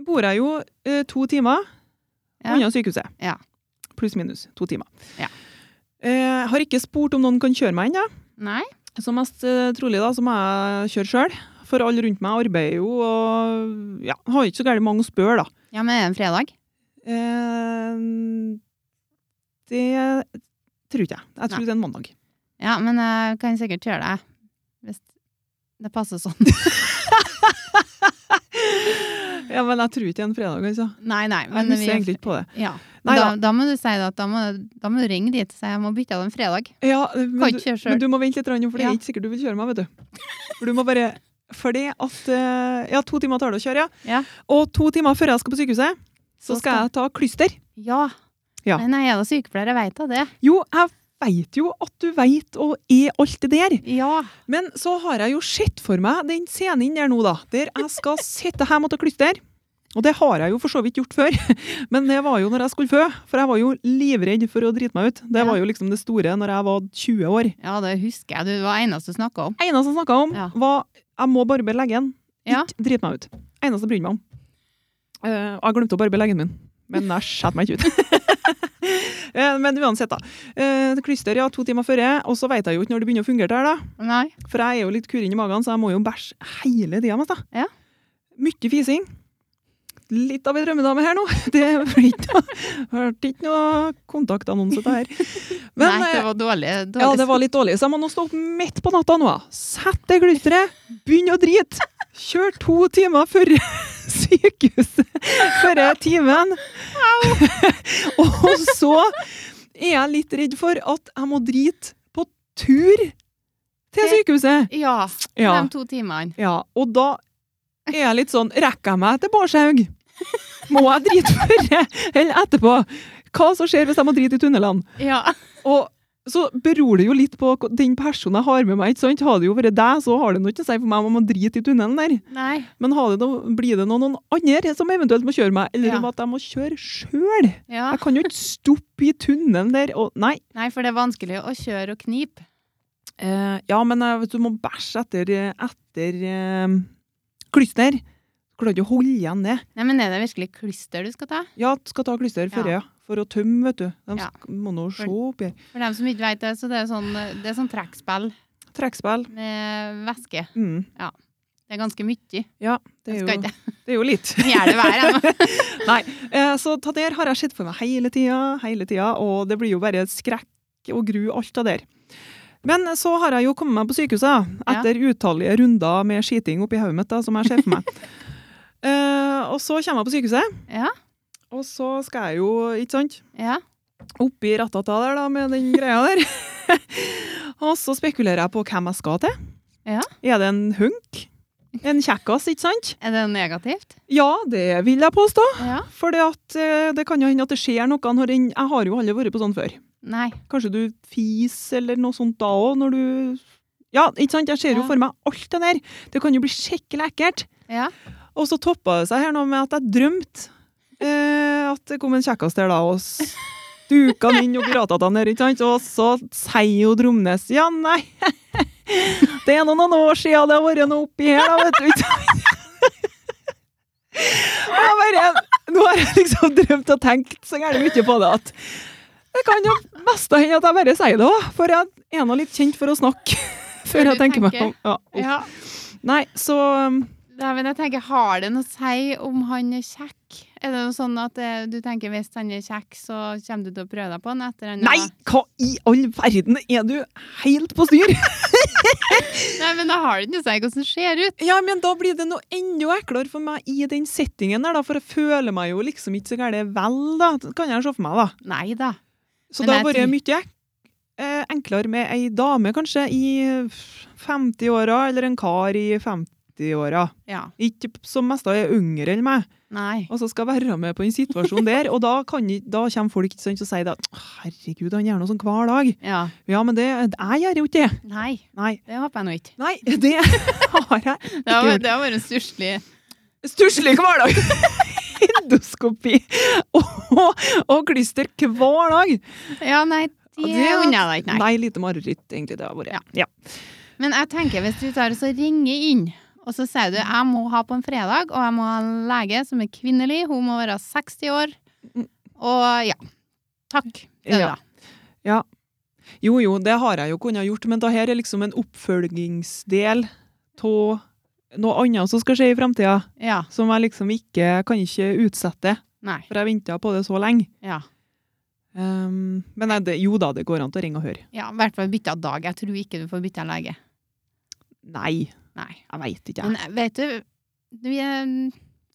Speaker 2: bor jeg jo eh, to timer
Speaker 1: Ja.
Speaker 2: unna sykehuset.
Speaker 1: Ja.
Speaker 2: Pluss minus to timer.
Speaker 1: Ja.
Speaker 2: Eh, har ikke spurt om noen kan kjøre meg ennå.
Speaker 1: Nei?
Speaker 2: Så mest eh, trolig da, så må jeg kjøre sjøl. For alle rundt meg arbeider jo, og ja, har ikke så gærent mange å spørre, da.
Speaker 1: Ja, men er det en fredag?
Speaker 2: Eh, det tror ikke jeg. Jeg tror
Speaker 1: Nei.
Speaker 2: det er en mandag.
Speaker 1: Ja, men jeg kan sikkert kjøre deg. Hvis det passer sånn.
Speaker 2: Ja, men jeg tror ikke det er en fredag, altså.
Speaker 1: Nei, nei.
Speaker 2: Jeg
Speaker 1: Men
Speaker 2: husker egentlig ikke på det.
Speaker 1: ja.
Speaker 2: Nei
Speaker 1: da,
Speaker 2: da.
Speaker 1: da må du si det at da må, da må du ringe dit og si jeg må bytte av en fredag.
Speaker 2: Ja, men
Speaker 1: Kan
Speaker 2: du-
Speaker 1: ikke kjøre
Speaker 2: Men
Speaker 1: sjøl.
Speaker 2: du må vente litt, Ranjo, for det
Speaker 1: Ja.
Speaker 2: er ikke sikkert du vil kjøre meg, vet du. For du må bare... Fordi at eh, Ja, to timer tar det å kjøre, ja.
Speaker 1: Ja.
Speaker 2: Og to timer før jeg skal på sykehuset, så
Speaker 1: Så
Speaker 2: skal jeg ta klyster.
Speaker 1: Ja.
Speaker 2: Ja.
Speaker 1: Nei, nei, jeg er da sykepleier, jeg veit da det.
Speaker 2: Jo, jeg veit jo at du veit og er alt det der.
Speaker 1: Ja.
Speaker 2: Men så har jeg jo sett for meg den scenen der nå, da. Der jeg skal sitte her og ta klyster. Og det har jeg jo for så vidt gjort før, men det var jo når jeg skulle fø. For jeg var jo livredd for å drite meg ut. Det
Speaker 1: Ja.
Speaker 2: var jo liksom det store når jeg var 20 år.
Speaker 1: Ja, det husker jeg. Du var eneste du snakka om.
Speaker 2: eneste jeg snakka om,
Speaker 1: Ja.
Speaker 2: var jeg må barbe leggen.
Speaker 1: Ja.
Speaker 2: Ikke drit meg ut. Eneste jeg brydde meg om. Eh, og jeg glemte å barbe leggen min, men jeg skjærer meg ikke ut. Eh, men uansett, da. Eh, klyster, ja, to timer før, jeg, og så veit jeg jo ikke når det begynner å fungere der, da.
Speaker 1: Nei.
Speaker 2: For jeg er jo litt kurinn i magen, så jeg må jo bæsje hele tida mest, da.
Speaker 1: Ja.
Speaker 2: Mye fising. Litt av ei drømmedame her nå. Det blir ikke noe Hørte ikke noe kontaktannonse til her. Men,
Speaker 1: nei,
Speaker 2: eh,
Speaker 1: det var dårlig. dårlig.
Speaker 2: ja, det var litt dårlig. Så jeg må nå stå opp midt på natta nå. Sett det glisteret, begynn å drite. Kjør to timer før sykehuset, før timen. Og så er jeg litt redd for at jeg må drite på tur til sykehuset.
Speaker 1: ja,
Speaker 2: Ja,
Speaker 1: de to timene.
Speaker 2: ja. Og da er jeg litt sånn Rekker jeg meg til Bårdshaug? Må jeg drite før eller etterpå? Hva som skjer hvis jeg må drite i tunnelene?
Speaker 1: Ja.
Speaker 2: Og så beror det jo litt på hva- den personen jeg har med meg. ikke sant? Har det jo vært deg, så har det noe ikke å si for meg om jeg må drite i tunnelen der.
Speaker 1: Nei.
Speaker 2: Men har det noe, blir det noen, noen andre som eventuelt må kjøre meg, eller
Speaker 1: Ja.
Speaker 2: om at jeg må kjøre sjøl?
Speaker 1: Ja.
Speaker 2: Jeg kan jo ikke stoppe i tunnelen der. Og, nei.
Speaker 1: Nei, for det er vanskelig å kjøre og knipe.
Speaker 2: Eh, ja, men eh, vet du du må bæsje etter, eh, etter eh, klyster. Klarer ikke å holde igjen det.
Speaker 1: Nei, men er det virkelig klyster du skal ta?
Speaker 2: Ja, skal ta klyster før, ja. For å tømme, vet du. De
Speaker 1: Ja.
Speaker 2: sk- må nå se oppi.
Speaker 1: For dem som ikke vet det, så det er sånn, det er sånn trekkspill
Speaker 2: Trekkspill.
Speaker 1: med væske.
Speaker 2: Mm.
Speaker 1: Det er ganske mye.
Speaker 2: Det,
Speaker 1: Jeg
Speaker 2: er
Speaker 1: skal
Speaker 2: jo-
Speaker 1: ikke
Speaker 2: det er jo litt.
Speaker 1: gjøre det hver ennå.
Speaker 2: Nei, eh, så ta der har jeg sett for meg hele tida, hele tida, og det blir jo bare skrekk og gru, alt det der. Men så har jeg jo kommet meg på sykehuset, da,
Speaker 1: Ja.
Speaker 2: etter utallige runder med skiting oppi hodet mitt, da, som jeg ser for meg. eh, og så kommer jeg på sykehuset,
Speaker 1: Ja.
Speaker 2: og så skal jeg jo, ikke sant,
Speaker 1: Ja.
Speaker 2: oppi rattata der da, med den greia der. og så spekulerer jeg på hvem jeg skal til.
Speaker 1: Ja.
Speaker 2: Er det en hunk? En kjekkas, ikke sant?
Speaker 1: Er det negativt?
Speaker 2: Ja, det vil jeg påstå.
Speaker 1: Ja.
Speaker 2: For eh, det kan jo hende at det skjer noe. når en- Jeg har jo aldri vært på sånn før.
Speaker 1: Nei.
Speaker 2: Kanskje du fis eller noe sånt da òg, når du Ja, ikke sant? Jeg ser jo
Speaker 1: Ja.
Speaker 2: for meg alt det der. Det kan jo bli skikkelig ekkelt.
Speaker 1: Ja.
Speaker 2: Og så toppa det seg her nå med at jeg drømte eh, at det kom en kjekkas der, da, og s- stuka han inn og gråtete ned, ikke sant? Og så sier jo Dromnes ja, nei. Det er nå noen år siden det har vært noe oppi her, da, vet du. ikke sant?» Og jeg bare, nå har jeg liksom drømt og tenkt så gærent mye på det at det kan jo mest hende at jeg bare sier det òg, for jeg er nå litt kjent for å snakke før jeg
Speaker 1: du
Speaker 2: tenker meg
Speaker 1: tenker.
Speaker 2: om. Ja, uff.
Speaker 1: Ja.
Speaker 2: Nei, så um,
Speaker 1: Nei, men jeg tenker, Har det noe å si om han er kjekk? Er det noe sånn at eh, du tenker hvis han er kjekk, så kommer du til å prøve deg på han etter han har-
Speaker 2: Nei, hva i all verden? Er du helt på styr?
Speaker 1: Nei, men da har det ikke noe å si hvordan det ser ut.
Speaker 2: Ja, men da blir det noe enda eklere for meg i den settingen der, da, for jeg føler meg jo liksom ikke så gæren vel, da. Det kan jeg se for meg, da.
Speaker 1: Nei da.
Speaker 2: Så
Speaker 1: Men
Speaker 2: da
Speaker 1: jeg
Speaker 2: har det vært mye eh, enklere med ei dame, kanskje, i 50-åra, eller en kar i 50-åra.
Speaker 1: Ja.
Speaker 2: Ikke p- som mest da er yngre enn meg,
Speaker 1: Nei.
Speaker 2: og så skal jeg være med på den situasjonen der. Og da, kan, ikke- da kommer folk ikke sant, og sier da Herregud, han gjør noe sånn hver dag.
Speaker 1: Ja.
Speaker 2: Ja, men det, jeg gjør jo ikke det.
Speaker 1: Nei.
Speaker 2: Nei.
Speaker 1: Det håper jeg nå ikke.
Speaker 2: Nei, det har jeg
Speaker 1: Det har,
Speaker 2: gjort.
Speaker 1: det har vært en stusslig
Speaker 2: Stusslig hverdag! Endoskopi og, og klister hver dag.
Speaker 1: Ja, nei,
Speaker 2: Og
Speaker 1: det unner jeg deg ikke, nei.
Speaker 2: Nei, lite mareritt, egentlig. Det har vært.
Speaker 1: Ja.
Speaker 2: Ja.
Speaker 1: Men jeg tenker hvis du tar og så ringer inn, og så sier du jeg må ha på en fredag, og jeg må ha en lege som er kvinnelig, hun må være 60 år, og ja. Takk. Det er det
Speaker 2: Ja.
Speaker 1: da.
Speaker 2: Jo, jo, det har jeg jo kunnet gjort, men det her er liksom en oppfølgingsdel av noe annet som skal skje i framtida,
Speaker 1: Ja.
Speaker 2: som jeg liksom ikke kan ikke utsette,
Speaker 1: Nei.
Speaker 2: for jeg venta på det så lenge.
Speaker 1: Ja.
Speaker 2: Um, men nei, det, jo da, det går an til å ringe og høre.
Speaker 1: Ja, i hvert fall bytte av dag. Jeg tror ikke du får bytte av lege.
Speaker 2: Nei,
Speaker 1: Nei.
Speaker 2: jeg veit ikke, jeg.
Speaker 1: Men eh, vet du, du er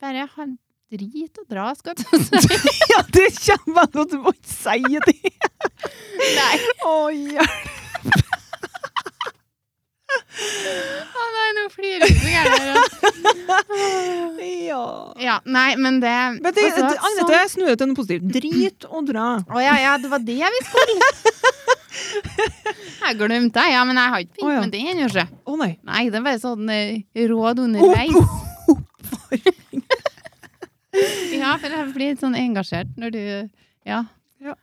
Speaker 1: bare har drit og dra, skal jeg til å si.
Speaker 2: Ja, det kommer jeg nå til å si det!
Speaker 1: Nei.
Speaker 2: Å, hjelp!
Speaker 1: Å nei, nå flirer du så gærent.
Speaker 2: Ja.
Speaker 1: Ja, nei, men det
Speaker 2: Men det,
Speaker 1: altså,
Speaker 2: det, Agnete, jeg snur det til noe positivt. Drit og dra.
Speaker 1: Å ja, ja, det var det vi skulle. jeg glemte det, ja, men jeg har ikke begynt
Speaker 2: Å, ja.
Speaker 1: med det ennå. ikke.
Speaker 2: Å nei.
Speaker 1: Nei, det er bare sånn eh, råd underveis. Ja, for jeg blir litt sånn engasjert når du Ja.
Speaker 2: Ja.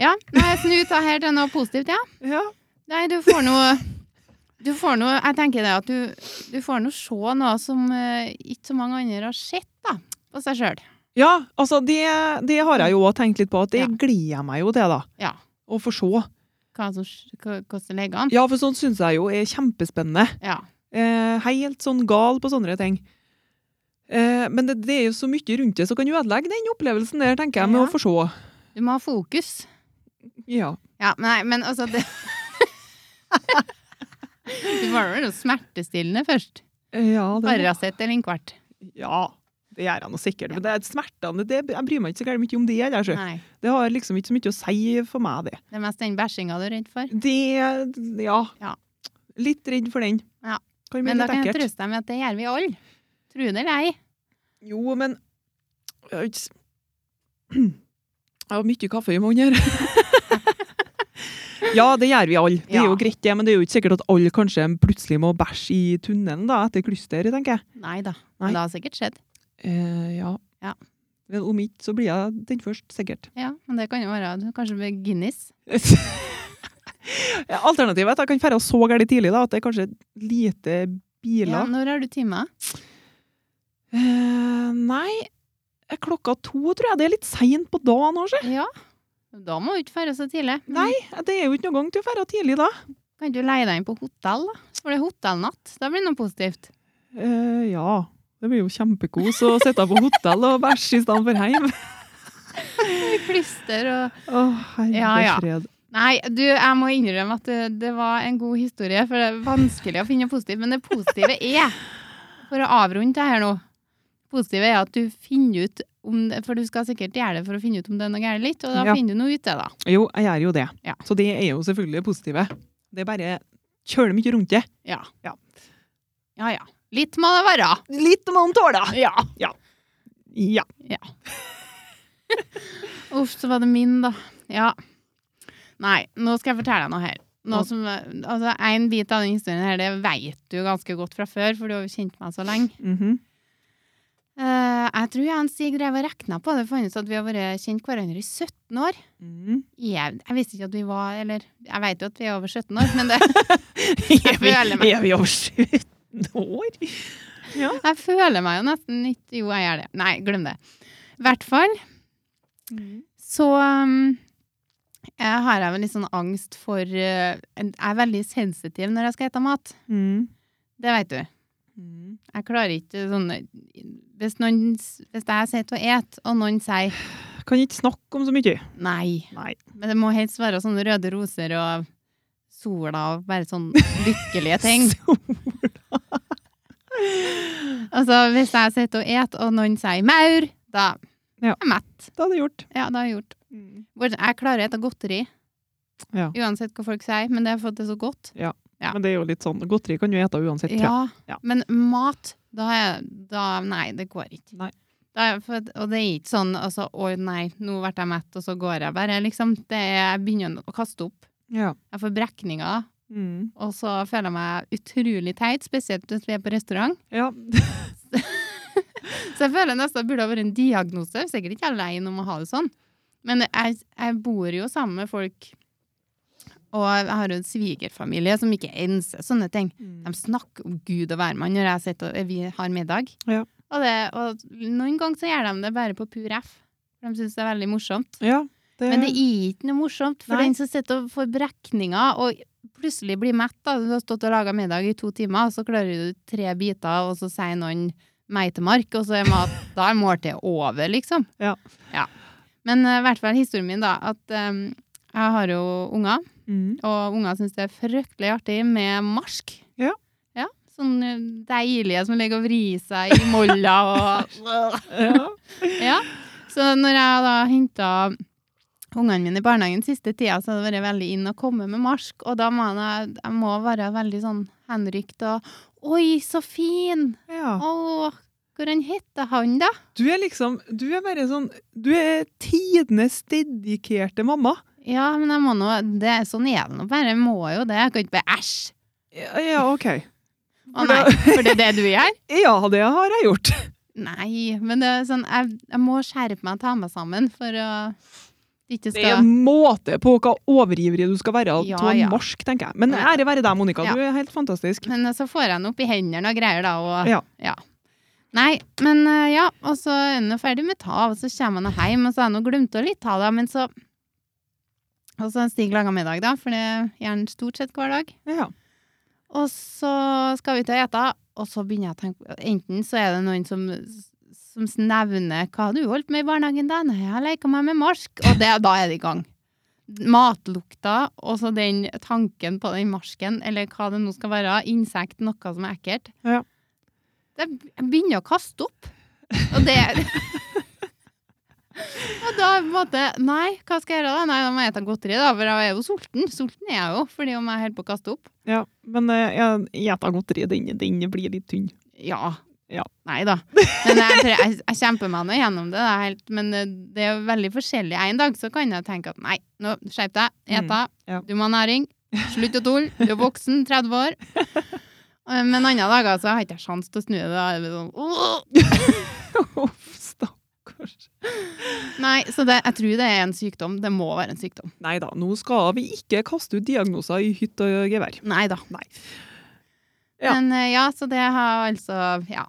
Speaker 1: Ja, nei, jeg snur ta her til noe positivt, ja.
Speaker 2: Ja.
Speaker 1: Nei, du får noe Du får noe Jeg tenker det at du, du får noe se noe som eh, ikke så mange andre har sett, da. På seg sjøl.
Speaker 2: ja, altså det, det har jeg jo også tenkt litt på, at det
Speaker 1: Ja.
Speaker 2: gleder jeg meg jo til, da.
Speaker 1: Ja.
Speaker 2: Å få se.
Speaker 1: Hva som hva- hvordan det ligger an.
Speaker 2: Ja, for sånt syns jeg jo er kjempespennende.
Speaker 1: Ja.
Speaker 2: Eh, helt sånn gal på sånne ting. Eh, men det, det er jo så mye rundt det som kan ødelegge den opplevelsen der, tenker jeg, med
Speaker 1: Ja.
Speaker 2: å få se.
Speaker 1: Du må ha fokus.
Speaker 2: Ja.
Speaker 1: Ja, men nei, men altså det Du må ha noe smertestillende først.
Speaker 2: Eh, Ja, det,
Speaker 1: Paracet eller en kvart.
Speaker 2: ja, det gjør jeg nå sikkert. Men det er smertene, det, jeg bryr meg ikke så gærent mye om det. Jeg, sjø.
Speaker 1: Nei.
Speaker 2: Det har liksom ikke så mye å si for meg, det.
Speaker 1: Det er mest den bæsjinga du er redd for.
Speaker 2: Det Ja.
Speaker 1: Ja.
Speaker 2: Litt redd for den.
Speaker 1: Ja.
Speaker 2: Kan bli
Speaker 1: Men da
Speaker 2: litt
Speaker 1: kan jeg
Speaker 2: ekkelt.
Speaker 1: trøste deg med at det gjør vi alle. Tro det eller ei.
Speaker 2: Jo, men Jeg har ikke s- Jeg har mye kaffe i munnen her. ja, det gjør vi alle. Det er jo
Speaker 1: Ja.
Speaker 2: greit, det. Men det er jo ikke sikkert at alle kanskje plutselig må bæsje i tunnelen da, etter klyster, tenker jeg.
Speaker 1: Nei da.
Speaker 2: Nei.
Speaker 1: Men det har sikkert skjedd.
Speaker 2: Eh, ja.
Speaker 1: Ja.
Speaker 2: Men om ikke, så blir jeg den først, sikkert.
Speaker 1: Ja, men det kan jo være kanskje med Guinness.
Speaker 2: Ja, Alternativet er at jeg kan ferde så gærent tidlig da, at det er kanskje lite biler.
Speaker 1: Ja, når har du timer?
Speaker 2: Eh, nei, eh, klokka to, tror jeg. Det er litt seint på dagen òg,
Speaker 1: Ja. Da må du ikke ferde så tidlig. Men
Speaker 2: Nei. Eh, Det er jo ikke noen gang til å ferde tidlig da.
Speaker 1: Kan du leie deg inn på hotell, da? For det er hotellnatt. Da blir det noe positivt.
Speaker 2: Eh, ja. Det blir jo kjempekos å sitte på hotell og bæsje i stedet for hjem.
Speaker 1: Klister og
Speaker 2: Å, herre
Speaker 1: Ja, ja.
Speaker 2: fred.
Speaker 1: Nei, du, jeg må innrømme at det, det var en god historie, for det er vanskelig å finne positivt. Men det positive er, for å avrunde det her nå, positive er at du finner ut om det, For du skal sikkert gjøre det for å finne ut om det er noe galt litt, og da
Speaker 2: Ja.
Speaker 1: finner du noe ut av det. da.
Speaker 2: Jo, jeg gjør jo det.
Speaker 1: Ja.
Speaker 2: Så det er jo selvfølgelig det positive. Det er bare kjøler mye rundt det.
Speaker 1: Ja.
Speaker 2: Ja.
Speaker 1: ja ja. Litt må det være.
Speaker 2: Litt om man tåler.
Speaker 1: Ja.
Speaker 2: Ja.
Speaker 1: Uff, så var det min, da. Ja. Nei, nå skal jeg fortelle deg noe her. Noe som, altså, en bit av den historien her, det vet du jo ganske godt fra før, for du har jo kjent meg så lenge.
Speaker 2: Mhm.
Speaker 1: Eh, jeg tror jeg og Stig drev og regna på det. Fant ut at vi har vært kjent hverandre i 17 år.
Speaker 2: Mm.
Speaker 1: Jeg, jeg visste ikke at vi var Eller jeg vet jo at vi er over 17 år, men det,
Speaker 2: Er, vi,
Speaker 1: føler meg-
Speaker 2: er vi over 17 år? Ja.
Speaker 1: jeg føler meg jo nesten litt Jo, jeg gjør det. Nei, glem det. I hvert fall så um, jeg har jeg vel litt sånn angst for eh, en- Jeg er veldig sensitiv når jeg skal spise mat.
Speaker 2: Mm.
Speaker 1: Det vet du.
Speaker 2: Mm.
Speaker 1: Jeg klarer ikke sånn Hvis, noen, s- hvis jeg sitter og et, og noen sier
Speaker 2: Kan ikke snakke om så mye.
Speaker 1: nei
Speaker 2: Nei.
Speaker 1: Men det må helst være sånne røde roser og sola og bare sånn lykkelige ting.
Speaker 2: Så-
Speaker 1: Altså, hvis jeg sitter og et, og noen sier maur, da er
Speaker 2: Ja.
Speaker 1: jeg mett.
Speaker 2: Det hadde jeg gjort.
Speaker 1: Ja, da har jeg gjort.
Speaker 2: Mm.
Speaker 1: Bortsett- Jeg klarer å ete godteri,
Speaker 2: Ja.
Speaker 1: uansett hva folk sier, men det er for at det er så godt. Ja.
Speaker 2: Men det er jo litt sånn, godteri kan du ete uansett, tror jeg.
Speaker 1: Ja,
Speaker 2: Ja.
Speaker 1: men mat, da, er- da Nei, det går ikke.
Speaker 2: Nei.
Speaker 1: Da er- for, og det er ikke sånn altså, 'Å nei, nå ble jeg mett, og så går jeg bare'. Liksom, det er, jeg begynner å kaste opp.
Speaker 2: Ja.
Speaker 1: Jeg får brekninger,
Speaker 2: Mm.
Speaker 1: og så føler jeg meg utrolig teit, spesielt hvis vi er på restaurant.
Speaker 2: ja.
Speaker 1: Så jeg føler nesten at det burde ha vært en diagnose. Jeg er Sikkert ikke alene om å ha det sånn. Men jeg, jeg bor jo sammen med folk, og jeg har jo en svigerfamilie som ikke enser sånne ting.
Speaker 2: Mm.
Speaker 1: De snakker om Gud og hvermann når jeg sitter og vi har middag.
Speaker 2: Ja.
Speaker 1: Og, det, og noen ganger så gjør de det bare på pur F. De syns det er veldig morsomt.
Speaker 2: Ja, det,
Speaker 1: Men det er ikke noe morsomt, for
Speaker 2: Mm. Nei.
Speaker 1: den som sitter og får brekninger og plutselig blir mett, da, du har stått og laga middag i to timer, og så klarer du tre biter, og så sier noen meitemark, og så er mat, da er måltidet over, liksom.
Speaker 2: Ja.
Speaker 1: Ja. Men eh, i hvert fall historien min, da, at eh, jeg har jo unger.
Speaker 2: Mm.
Speaker 1: Og unger syns det er fryktelig artig med marsk.
Speaker 2: Ja.
Speaker 1: Ja, Sånne deilige som ligger og vrir seg i molla og
Speaker 2: Ja.
Speaker 1: Ja. Så når jeg da henta ungene mine i barnehagen siste tida, så har det vært veldig inn å komme med marsk. Og da må jeg, jeg må være veldig sånn henrykt og Oi, så fin!
Speaker 2: ja.
Speaker 1: Å, hvordan heter han, da?
Speaker 2: Du er liksom Du er bare sånn Du er tidenes dedikerte mamma.
Speaker 1: Ja, men jeg må nå det, Sånn er det nå bare. Jeg må jo det. Jeg kan ikke bare æsj!
Speaker 2: Ja, ja OK.
Speaker 1: Å nei, for det er det du gjør?
Speaker 2: Ja, det har jeg gjort.
Speaker 1: Nei, men det er sånn, jeg, jeg må skjerpe meg og ta meg sammen for å det ikke
Speaker 2: Det er
Speaker 1: skal
Speaker 2: en måte på hva overivrig du skal være av
Speaker 1: Ja,
Speaker 2: ja,
Speaker 1: ja.
Speaker 2: marsk, tenker jeg. Men
Speaker 1: Ja.
Speaker 2: ære være deg, Monica.
Speaker 1: Ja.
Speaker 2: Du er helt fantastisk.
Speaker 1: Men eh, så får jeg den opp i hendene og greier, da. Og,
Speaker 2: Ja.
Speaker 1: Nei, men eh, ja, og så er den jo ferdig med ta, og så kommer han nå hjem, og så har jeg nå glemt å litt ta det, men så Og så har Stig laga middag, da, for det gjør han stort sett hver dag.
Speaker 2: Ja.
Speaker 1: Og så skal vi ut og ete, og så begynner jeg å tenke Enten så er det noen som, som nevner 'Hva har du holdt med i barnehagen, da?' 'Nei, jeg har leka meg med marsk.' Og det, da er det i gang. Matlukta, og så den tanken på den marsken, eller hva det nå skal være, insekt, noe som er ekkelt.
Speaker 2: Ja.
Speaker 1: Det, jeg begynner å kaste opp. Og det Og da på en måte Nei, hva skal jeg gjøre da? Nei, da må jeg spise godteri, da, for jeg er jo sulten. Sulten er jeg jo, fordi om jeg holder på å kaste opp.
Speaker 2: ja. Men uh, gjeta godteri, den, den blir litt tynn.
Speaker 1: Ja.
Speaker 2: Ja.
Speaker 1: Nei da. Men jeg, tror jeg, jeg kjemper meg nå gjennom det, det er helt, men eh, det er jo veldig forskjellig. En dag så kan jeg tenke at nei, nå skjerp deg, et
Speaker 2: Mm,
Speaker 1: deg,
Speaker 2: ja.
Speaker 1: du må ha næring, slutt å tulle, du er voksen, 30 år. Eh, Men andre dager så har jeg ikke sjans til å snu det. Da er det sånn, «Åh!»
Speaker 2: Uff, stakkars.
Speaker 1: Nei, så det, jeg tror det er en sykdom. Det må være en sykdom.
Speaker 2: Nei da, nå skal vi ikke kaste ut diagnoser i hytt og gevær.
Speaker 1: Nei da.
Speaker 2: Nei. Ja.
Speaker 1: Men eh, ja, så det har altså Ja.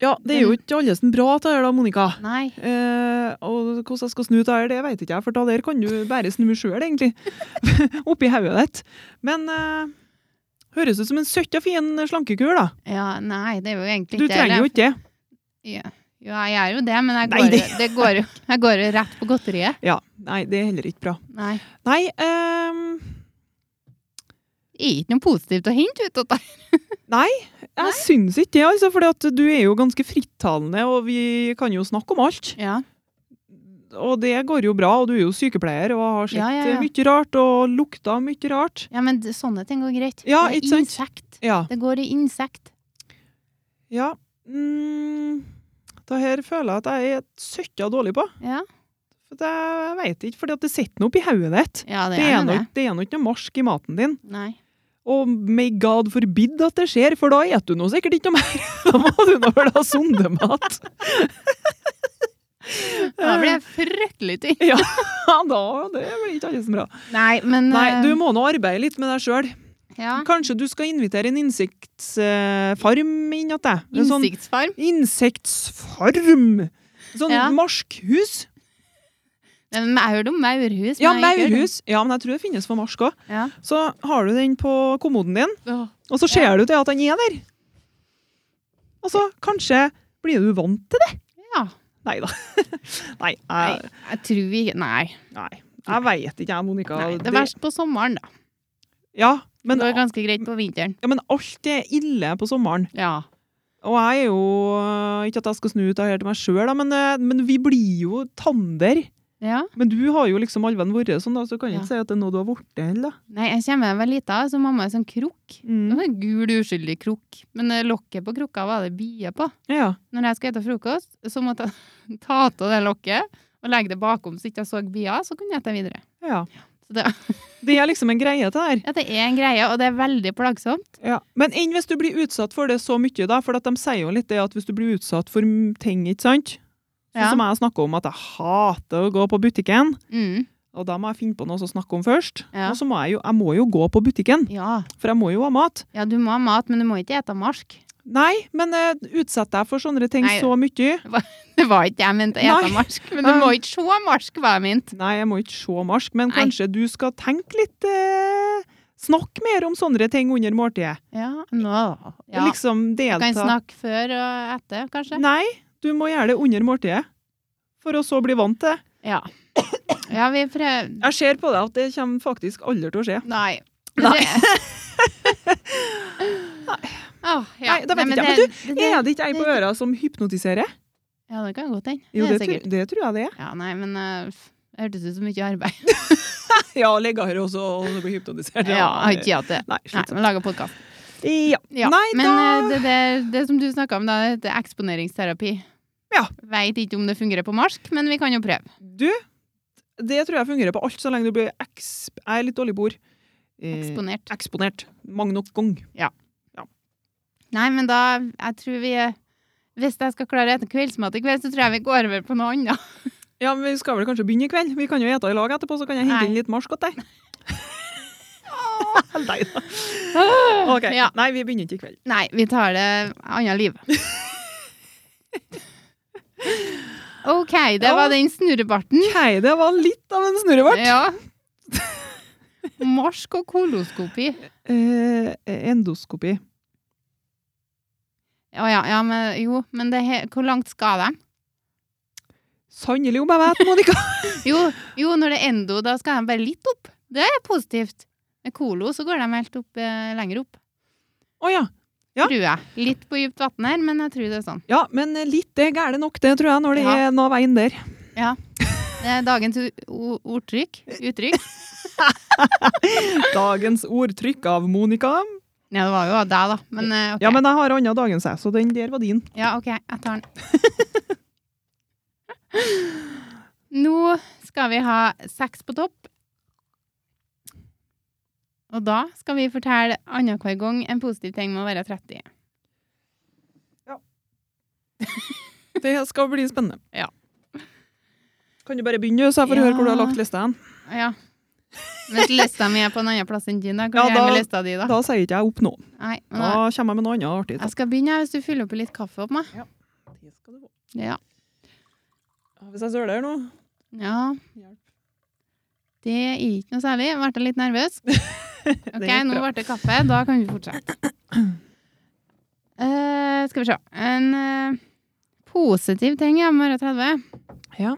Speaker 2: Ja, det er jo ikke alle som bra til det her da, Monica.
Speaker 1: Nei.
Speaker 2: Eh, og hvordan jeg skal snu det her, det vet ikke jeg, for da der kan du bare snu sjøl, egentlig. Oppi hodet ditt. Men eh, høres ut som en søtt og fin slankekur, da.
Speaker 1: Ja, nei, det er jo egentlig
Speaker 2: Du
Speaker 1: ikke det.
Speaker 2: trenger jo ikke det.
Speaker 1: Ja, jo, jeg gjør jo det, men jeg
Speaker 2: Nei,
Speaker 1: går,
Speaker 2: det-
Speaker 1: det går, jo- jeg går jo rett på godteriet.
Speaker 2: Ja, nei, det er heller ikke bra.
Speaker 1: Nei,
Speaker 2: Nei, ehm,
Speaker 1: det er ikke noe positivt å hente ut av det.
Speaker 2: jeg syns ikke det, altså, for du er jo ganske frittalende, og vi kan jo snakke om alt.
Speaker 1: Ja,
Speaker 2: Og det går jo bra, og du er jo sykepleier og har sett
Speaker 1: Ja, ja, ja.
Speaker 2: eh, mye rart og lukta mye rart.
Speaker 1: ja men det, sånne ting går greit.
Speaker 2: Ja,
Speaker 1: det er
Speaker 2: ikke sant?
Speaker 1: Insekt.
Speaker 2: Ja.
Speaker 1: Det går i insekt.
Speaker 2: ja. Mm, det her føler jeg at jeg er søkka dårlig på.
Speaker 1: Ja,
Speaker 2: For det, jeg vet ikke, for det sitter noe oppi hodet ditt.
Speaker 1: ja det,
Speaker 2: Det er
Speaker 1: nå
Speaker 2: nå ikke- det er nå ikke noe marsk i maten din.
Speaker 1: Nei.
Speaker 2: Og may god forbid at det skjer, for da eter du nå sikkert ikke noe mer. Da må du nå vel ha sondemat.
Speaker 1: Da blir jeg fryktelig tynn.
Speaker 2: Ja, da, det blir ikke alle som bra.
Speaker 1: Nei, men
Speaker 2: Nei,
Speaker 1: eh,
Speaker 2: du må nå arbeide litt med deg sjøl.
Speaker 1: ja.
Speaker 2: Kanskje du skal invitere en insektsfarm inn til deg? En Sånn
Speaker 1: Innsiktsfarm.
Speaker 2: insektsfarm! Sånn
Speaker 1: Ja.
Speaker 2: marskhus.
Speaker 1: Nei, men Jeg hørte om maurhus. men
Speaker 2: Ja,
Speaker 1: jeg har ikke hørt om-
Speaker 2: maurhus. Ja, men jeg tror det finnes for marsk òg.
Speaker 1: Ja.
Speaker 2: Så har du den på kommoden din,
Speaker 1: Åh.
Speaker 2: og så ser du til at den er der. Og så kanskje blir du vant til det.
Speaker 1: Ja.
Speaker 2: Nei da. Nei,
Speaker 1: Nei,
Speaker 2: jeg,
Speaker 1: jeg tror ikke Nei.
Speaker 2: nei. jeg veit ikke, jeg, Monica.
Speaker 1: Nei, det er verst på sommeren, da.
Speaker 2: Ja, men,
Speaker 1: det er
Speaker 2: ja,
Speaker 1: ganske greit på vinteren.
Speaker 2: men alt er ille på sommeren.
Speaker 1: Ja.
Speaker 2: Og jeg er jo eh, Ikke at jeg skal snu ut av her til meg sjøl, men, eh, men vi blir jo tander.
Speaker 1: ja.
Speaker 2: Men du har jo liksom alven vært sånn, da, så kan
Speaker 1: Ja.
Speaker 2: jeg ikke si at det er noe du har blitt heller.
Speaker 1: Nei, jeg kommer meg lita, så mamma er sånn krukk. Det
Speaker 2: Mm.
Speaker 1: var En gul, uskyldig krukk. Men eh, lokket på krukka var det bier på.
Speaker 2: Ja.
Speaker 1: Når jeg skulle spise frokost, så måtte jeg ta av det lokket og legge det bakom så ikke jeg så bier, så kunne jeg spise videre.
Speaker 2: ja.
Speaker 1: Så det,
Speaker 2: Det er liksom en greie, det der.
Speaker 1: ja, det er en greie, og det er veldig plagsomt.
Speaker 2: Ja. Men enn hvis du blir utsatt for det så mye, da? For at de sier jo litt det at hvis du blir utsatt for m- ting, ikke sant? Sånn
Speaker 1: Ja.
Speaker 2: som jeg snakker om at jeg hater å gå på butikken.
Speaker 1: Mm.
Speaker 2: Og da må jeg finne på noe å snakke om først.
Speaker 1: Ja.
Speaker 2: Og så må jeg jo, jeg må jo gå på butikken,
Speaker 1: Ja.
Speaker 2: for jeg må jo ha mat.
Speaker 1: ja, du må ha mat, men du må ikke ete marsk.
Speaker 2: Nei, men eh, utsett deg for sånne ting
Speaker 1: Nei.
Speaker 2: så mye.
Speaker 1: Det var ikke det jeg mente,
Speaker 2: Nei.
Speaker 1: ete marsk. Men du må ikke se marsk, var jeg mente.
Speaker 2: Nei, jeg må ikke se marsk, men
Speaker 1: Nei.
Speaker 2: kanskje du skal tenke litt eh, Snakk mer om sånne ting under måltidet.
Speaker 1: Ja, nå. Ja.
Speaker 2: Liksom
Speaker 1: Du
Speaker 2: delta.
Speaker 1: kan snakke før og etter, kanskje.
Speaker 2: Nei, du må gjøre det under måltidet. For å så bli vant til det.
Speaker 1: Ja. Ja, vi prøver
Speaker 2: Jeg ser på deg at det kommer faktisk aldri til å skje.
Speaker 1: Nei.
Speaker 2: Nei.
Speaker 1: Åh, ja.
Speaker 2: Nei, da vet
Speaker 1: men
Speaker 2: ikke jeg. Men
Speaker 1: det- det-
Speaker 2: Er det ikke ei på øra som hypnotiserer?
Speaker 1: Ja, det kan godt hende.
Speaker 2: Jo,
Speaker 1: det
Speaker 2: det,
Speaker 1: er
Speaker 2: tror-
Speaker 1: sikkert.
Speaker 2: det tror jeg det er.
Speaker 1: Ja, nei, men eh, det hørtes ut som mye arbeid.
Speaker 2: Ja, legger her også og blir hypnotisert.
Speaker 1: Ja, jeg har ikke hatt det.
Speaker 2: Nei,
Speaker 1: Nei,
Speaker 2: slutt.
Speaker 1: men laga podkast.
Speaker 2: Ja.
Speaker 1: Ja.
Speaker 2: Nei,
Speaker 1: men
Speaker 2: da
Speaker 1: eh, det, der- det som du snakka om, da, det er eksponeringsterapi.
Speaker 2: Ja.
Speaker 1: Veit ikke om det fungerer på marsk, men vi kan jo prøve.
Speaker 2: Du, det tror jeg fungerer på alt, så lenge du blir eksp... Jeg er litt dårlig på ord. Eh,
Speaker 1: Eksponert.
Speaker 2: Eksponert. Mange nok gang.
Speaker 1: Nei, men da Jeg tror vi eh, Hvis jeg skal klare å spise kveldsmat i kveld, så tror jeg vi går over på noe annet.
Speaker 2: Ja, men vi skal vel kanskje begynne i kveld? Vi kan jo ete i lag etterpå, så kan jeg hente
Speaker 1: Nei.
Speaker 2: inn litt marsk til deg. Nei da. Ok.
Speaker 1: Ja.
Speaker 2: Nei, vi begynner ikke i kveld.
Speaker 1: Nei, vi tar det annet liv. OK, det
Speaker 2: Ja.
Speaker 1: var den snurrebarten.
Speaker 2: Ok, det var litt av en snurrevart.
Speaker 1: Ja. Marsk og koloskopi.
Speaker 2: Eh, endoskopi.
Speaker 1: Å ja, ja, men jo, men det he hvor langt skal de?
Speaker 2: Sannelig om jeg vet, Monica.
Speaker 1: Jo, jo, når det er endo, da skal de bare litt opp. Det er positivt. Med kolo så går de helt opp, eh, lenger opp,
Speaker 2: Å ja. Ja.
Speaker 1: tror jeg. Litt på dypt vann her, men jeg tror det er sånn.
Speaker 2: Ja, men litt er gære nok, det tror jeg, når det
Speaker 1: Ja.
Speaker 2: er noe veien der.
Speaker 1: Det er dagens u- o- ordtrykk. Uttrykk.
Speaker 2: Dagens ordtrykk av Monica.
Speaker 1: Ja, det var jo deg, da. Men eh, OK.
Speaker 2: Ja, men jeg har annet dagens, jeg, så den der var din.
Speaker 1: Ja, ok, jeg tar den. Nå skal vi ha seks på topp. Og da skal vi fortelle annenhver gang en positiv ting med å være 30.
Speaker 2: Det skal bli spennende.
Speaker 1: Ja.
Speaker 2: Kan du bare begynne, så jeg får
Speaker 1: Ja.
Speaker 2: høre hvor du har lagt lista hen?
Speaker 1: Ja. Mens lista mi er på en annen plass enn din, da. Hva gjør
Speaker 2: Ja,
Speaker 1: jeg med
Speaker 2: da-
Speaker 1: lista di, da?
Speaker 2: Da sier ikke jeg opp nå.
Speaker 1: Nei, men da.
Speaker 2: Da kommer jeg med noe annet artig.
Speaker 1: Jeg skal begynne jeg, hvis du fyller opp litt kaffe opp meg.
Speaker 2: Det skal du få.
Speaker 1: Ja.
Speaker 2: Hvis jeg søler nå
Speaker 1: ja. Det er ikke noe særlig. Ble jeg litt nervøs? Ok,
Speaker 2: gikk
Speaker 1: nå
Speaker 2: bra.
Speaker 1: ble det kaffe. Da kan vi fortsette. Eh, skal vi se. En eh, positiv ting jeg med å være 30.
Speaker 2: Ja.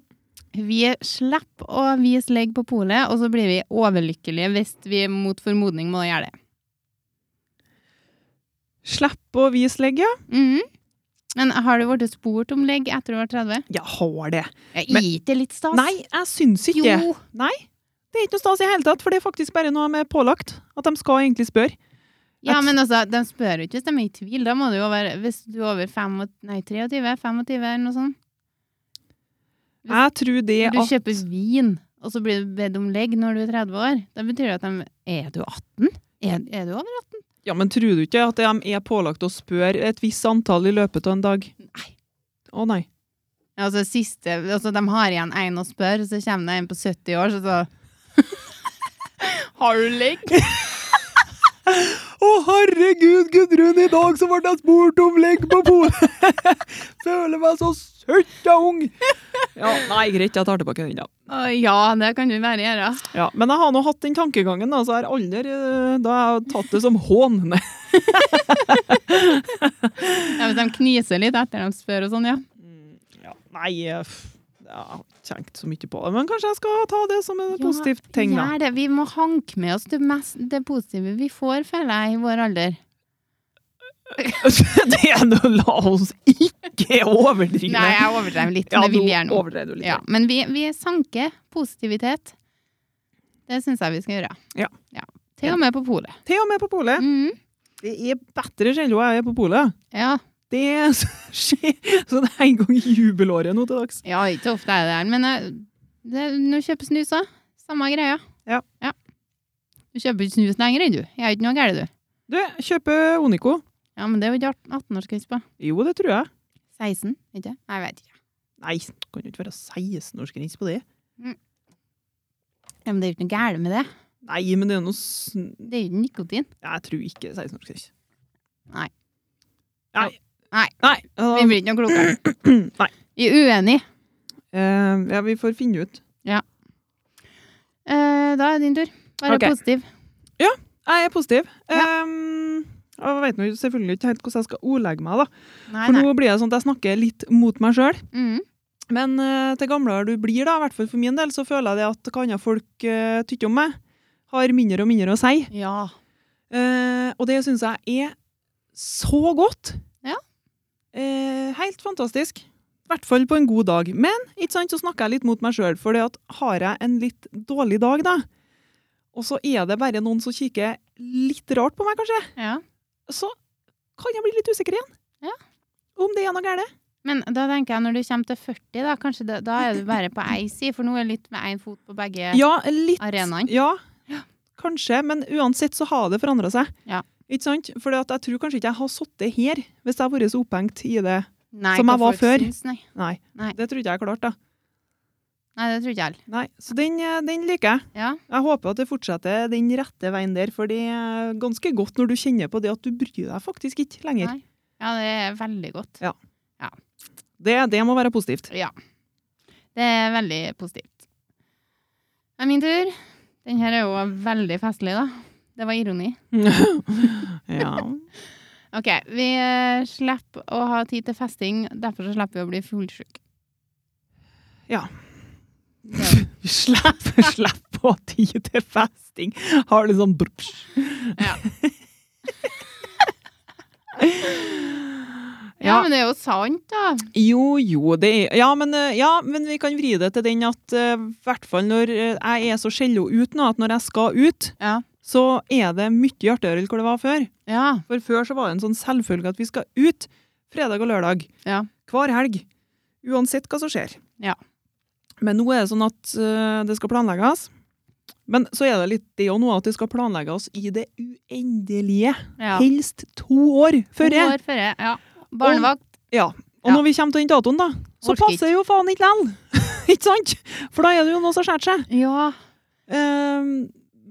Speaker 1: Vi slipper å vise legg på polet, og så blir vi overlykkelige hvis vi mot formodning må gjøre det.
Speaker 2: Slipp å vise legg, ja.
Speaker 1: Mhm. Men har du blitt spurt om legg etter du var 30?
Speaker 2: Jeg har det.
Speaker 1: Jeg
Speaker 2: Men-
Speaker 1: gir det litt stas.
Speaker 2: Nei, jeg syns ikke det.
Speaker 1: Jo.
Speaker 2: Det er ikke noe stas i hele tatt, for det er faktisk bare noe med pålagt. At de skal egentlig spørre.
Speaker 1: Ja,
Speaker 2: Jeg-
Speaker 1: men altså, de spør jo ikke hvis de er i tvil. Da må du jo være, hvis du er over fem og- nei, 23, 25 eller noe sånt. Hvis-
Speaker 2: Jeg tror
Speaker 1: Når
Speaker 2: det
Speaker 1: du
Speaker 2: at
Speaker 1: kjøper vin, og så blir du bedt om legg når du er 30 år, da betyr det at de Er du 18? Er, er du over 18?
Speaker 2: Ja, men tror du ikke at de er pålagt å spørre et visst antall i løpet av en dag?
Speaker 1: Nei.
Speaker 2: Å nei.
Speaker 1: Altså, siste, altså, de har igjen én å spørre, så kommer det en på 70 år, så så Har du ligg?
Speaker 2: Å herregud, Gudrun, i dag så ble jeg spurt om legg på bordet! Føler meg så søtta ung! Ja, nei, greit, jeg tar tilbake den, da.
Speaker 1: ja, det kan du bare gjøre.
Speaker 2: Ja, men jeg har nå hatt den tankegangen, da, så jeg har aldri eh, da har jeg tatt det som hån. Nei.
Speaker 1: Ja, hvis de kniser litt etter de spør og sånn, ja.
Speaker 2: Ja, nei, eh, f- ja, jeg har ikke tenkt så mye på det, men kanskje jeg skal ta det som en positiv ting, da.
Speaker 1: Gjør det. Vi må hanke med oss det, mest, det positive vi får, føler jeg, i vår alder.
Speaker 2: Det er noe, la oss ikke overdrive.
Speaker 1: Nei, jeg overdrev litt,
Speaker 2: ja,
Speaker 1: men det vil
Speaker 2: nå
Speaker 1: jeg gjøre nå.
Speaker 2: overdrev du litt.
Speaker 1: Ja, men vi, vi sanker positivitet. Det syns jeg vi skal gjøre.
Speaker 2: Ja.
Speaker 1: Til og med på polet.
Speaker 2: Til og med på polet.
Speaker 1: Mhm.
Speaker 2: Det er bedre sjelden jeg er på polet.
Speaker 1: Ja.
Speaker 2: Det er så- skjer Så det er en gang i jubelåret nå til dags.
Speaker 1: ja, ikke ofte er det der, men eh, det, nå kjøper snus òg. Samme greia.
Speaker 2: Ja.
Speaker 1: Du kjøper ikke snus lenger, du. Jeg er ikke noe gæren, du.
Speaker 2: Du, kjøpe Onico.
Speaker 1: Ja, men det er jo ikke 18-årsgrense på.
Speaker 2: Jo, det tror jeg.
Speaker 1: 16, ikke? Jeg vet ikke.
Speaker 2: Nei, det kan jo ikke være 16-årsgrense på det.
Speaker 1: Ja, men det er jo ikke noe gærent med det.
Speaker 2: Nei, men det er noe sn...
Speaker 1: Det er jo ikke nikotin.
Speaker 2: Jeg tror ikke det er 16-årsgrense.
Speaker 1: Nei.
Speaker 2: Nei.
Speaker 1: Nei.
Speaker 2: Nei.
Speaker 1: Vi blir ikke noe klokere.
Speaker 2: Nei.
Speaker 1: Vi er uenige.
Speaker 2: Eh, ja, vi får finne ut.
Speaker 1: Eh, da er det din tur. Være
Speaker 2: Ok.
Speaker 1: positiv.
Speaker 2: Jeg er positiv. Ehm, og jeg vet nå selvfølgelig ikke helt hvordan jeg skal ordlegge meg, da.
Speaker 1: Nei,
Speaker 2: For
Speaker 1: nei.
Speaker 2: nå blir det sånn at jeg snakker litt mot meg sjøl.
Speaker 1: Mm.
Speaker 2: Men eh, til gamlere du blir, da, i hvert fall for min del, så føler jeg det at hva andre folk uh, tykker om meg, har mindre og mindre å si.
Speaker 1: Ja.
Speaker 2: Eh, og det syns jeg er så godt.
Speaker 1: Ja.
Speaker 2: Eh, helt fantastisk. I hvert fall på en god dag. Men ikke sant, så snakker jeg litt mot meg sjøl, for har jeg en litt dårlig dag, da, og så er det bare noen som kikker litt rart på meg, kanskje,
Speaker 1: ja.
Speaker 2: så kan jeg bli litt usikker igjen.
Speaker 1: Ja.
Speaker 2: Om det er noe galt.
Speaker 1: Men da tenker jeg når du kommer til 40, da, kanskje det, da er du bare på ei side, for nå er det litt med én fot på begge.
Speaker 2: Ja, litt.
Speaker 1: arenaen.
Speaker 2: Ja, kanskje, men uansett så har det forandra seg.
Speaker 1: Ja.
Speaker 2: Ikke sant? For jeg tror kanskje ikke jeg har sittet her hvis jeg har vært så opphengt i det.
Speaker 1: Nei,
Speaker 2: Som
Speaker 1: hva
Speaker 2: jeg var
Speaker 1: folk
Speaker 2: før.
Speaker 1: syns, nei.
Speaker 2: Nei,
Speaker 1: Nei.
Speaker 2: det tror ikke jeg er klart, da.
Speaker 1: nei, det tror ikke jeg heller.
Speaker 2: Nei, Så den, eh, den liker jeg.
Speaker 1: Ja.
Speaker 2: Jeg håper at det fortsetter den rette veien der, for det er ganske godt når du kjenner på det at du bryr deg faktisk ikke lenger.
Speaker 1: Nei. ja, det er veldig godt.
Speaker 2: Det, det må være positivt.
Speaker 1: Ja. Det er veldig positivt. Det er min tur. Den her er jo veldig festlig, da. Det var ironi.
Speaker 2: Ja.
Speaker 1: OK. Vi eh, slipper å ha tid til festing, derfor så slipper vi å bli fullsjuke.
Speaker 2: Ja.
Speaker 1: Det er jo-
Speaker 2: Slipp, slipp å ha tid til festing. Har det sånn brups.
Speaker 1: Ja.
Speaker 2: Ja,
Speaker 1: Ja, men det er jo sant, da.
Speaker 2: Jo, jo, det er ja men, eh, ja, men vi kan vri det til den at i hvert fall når eh, jeg er så skjello ut nå, at når jeg skal ut,
Speaker 1: Ja.
Speaker 2: så er det mye artigere enn hvor det var før.
Speaker 1: Ja.
Speaker 2: For før så var det en sånn selvfølge at vi skal ut fredag og lørdag.
Speaker 1: Ja.
Speaker 2: Hver helg. Uansett hva som skjer.
Speaker 1: Ja.
Speaker 2: Men nå er det sånn at eh, det skal planlegges. Men så er det litt det òg nå at det skal planlegges i det uendelige.
Speaker 1: ja.
Speaker 2: Helst to år før det.
Speaker 1: To år før jeg, ja. Barnevakt.
Speaker 2: Ja. Og
Speaker 1: Ja.
Speaker 2: når vi kommer til den datoen, da, så
Speaker 1: Orker
Speaker 2: passer jo faen ikke likevel. ikke sant? For da er det jo noe som skjærer seg.
Speaker 1: Ja.
Speaker 2: Ehm,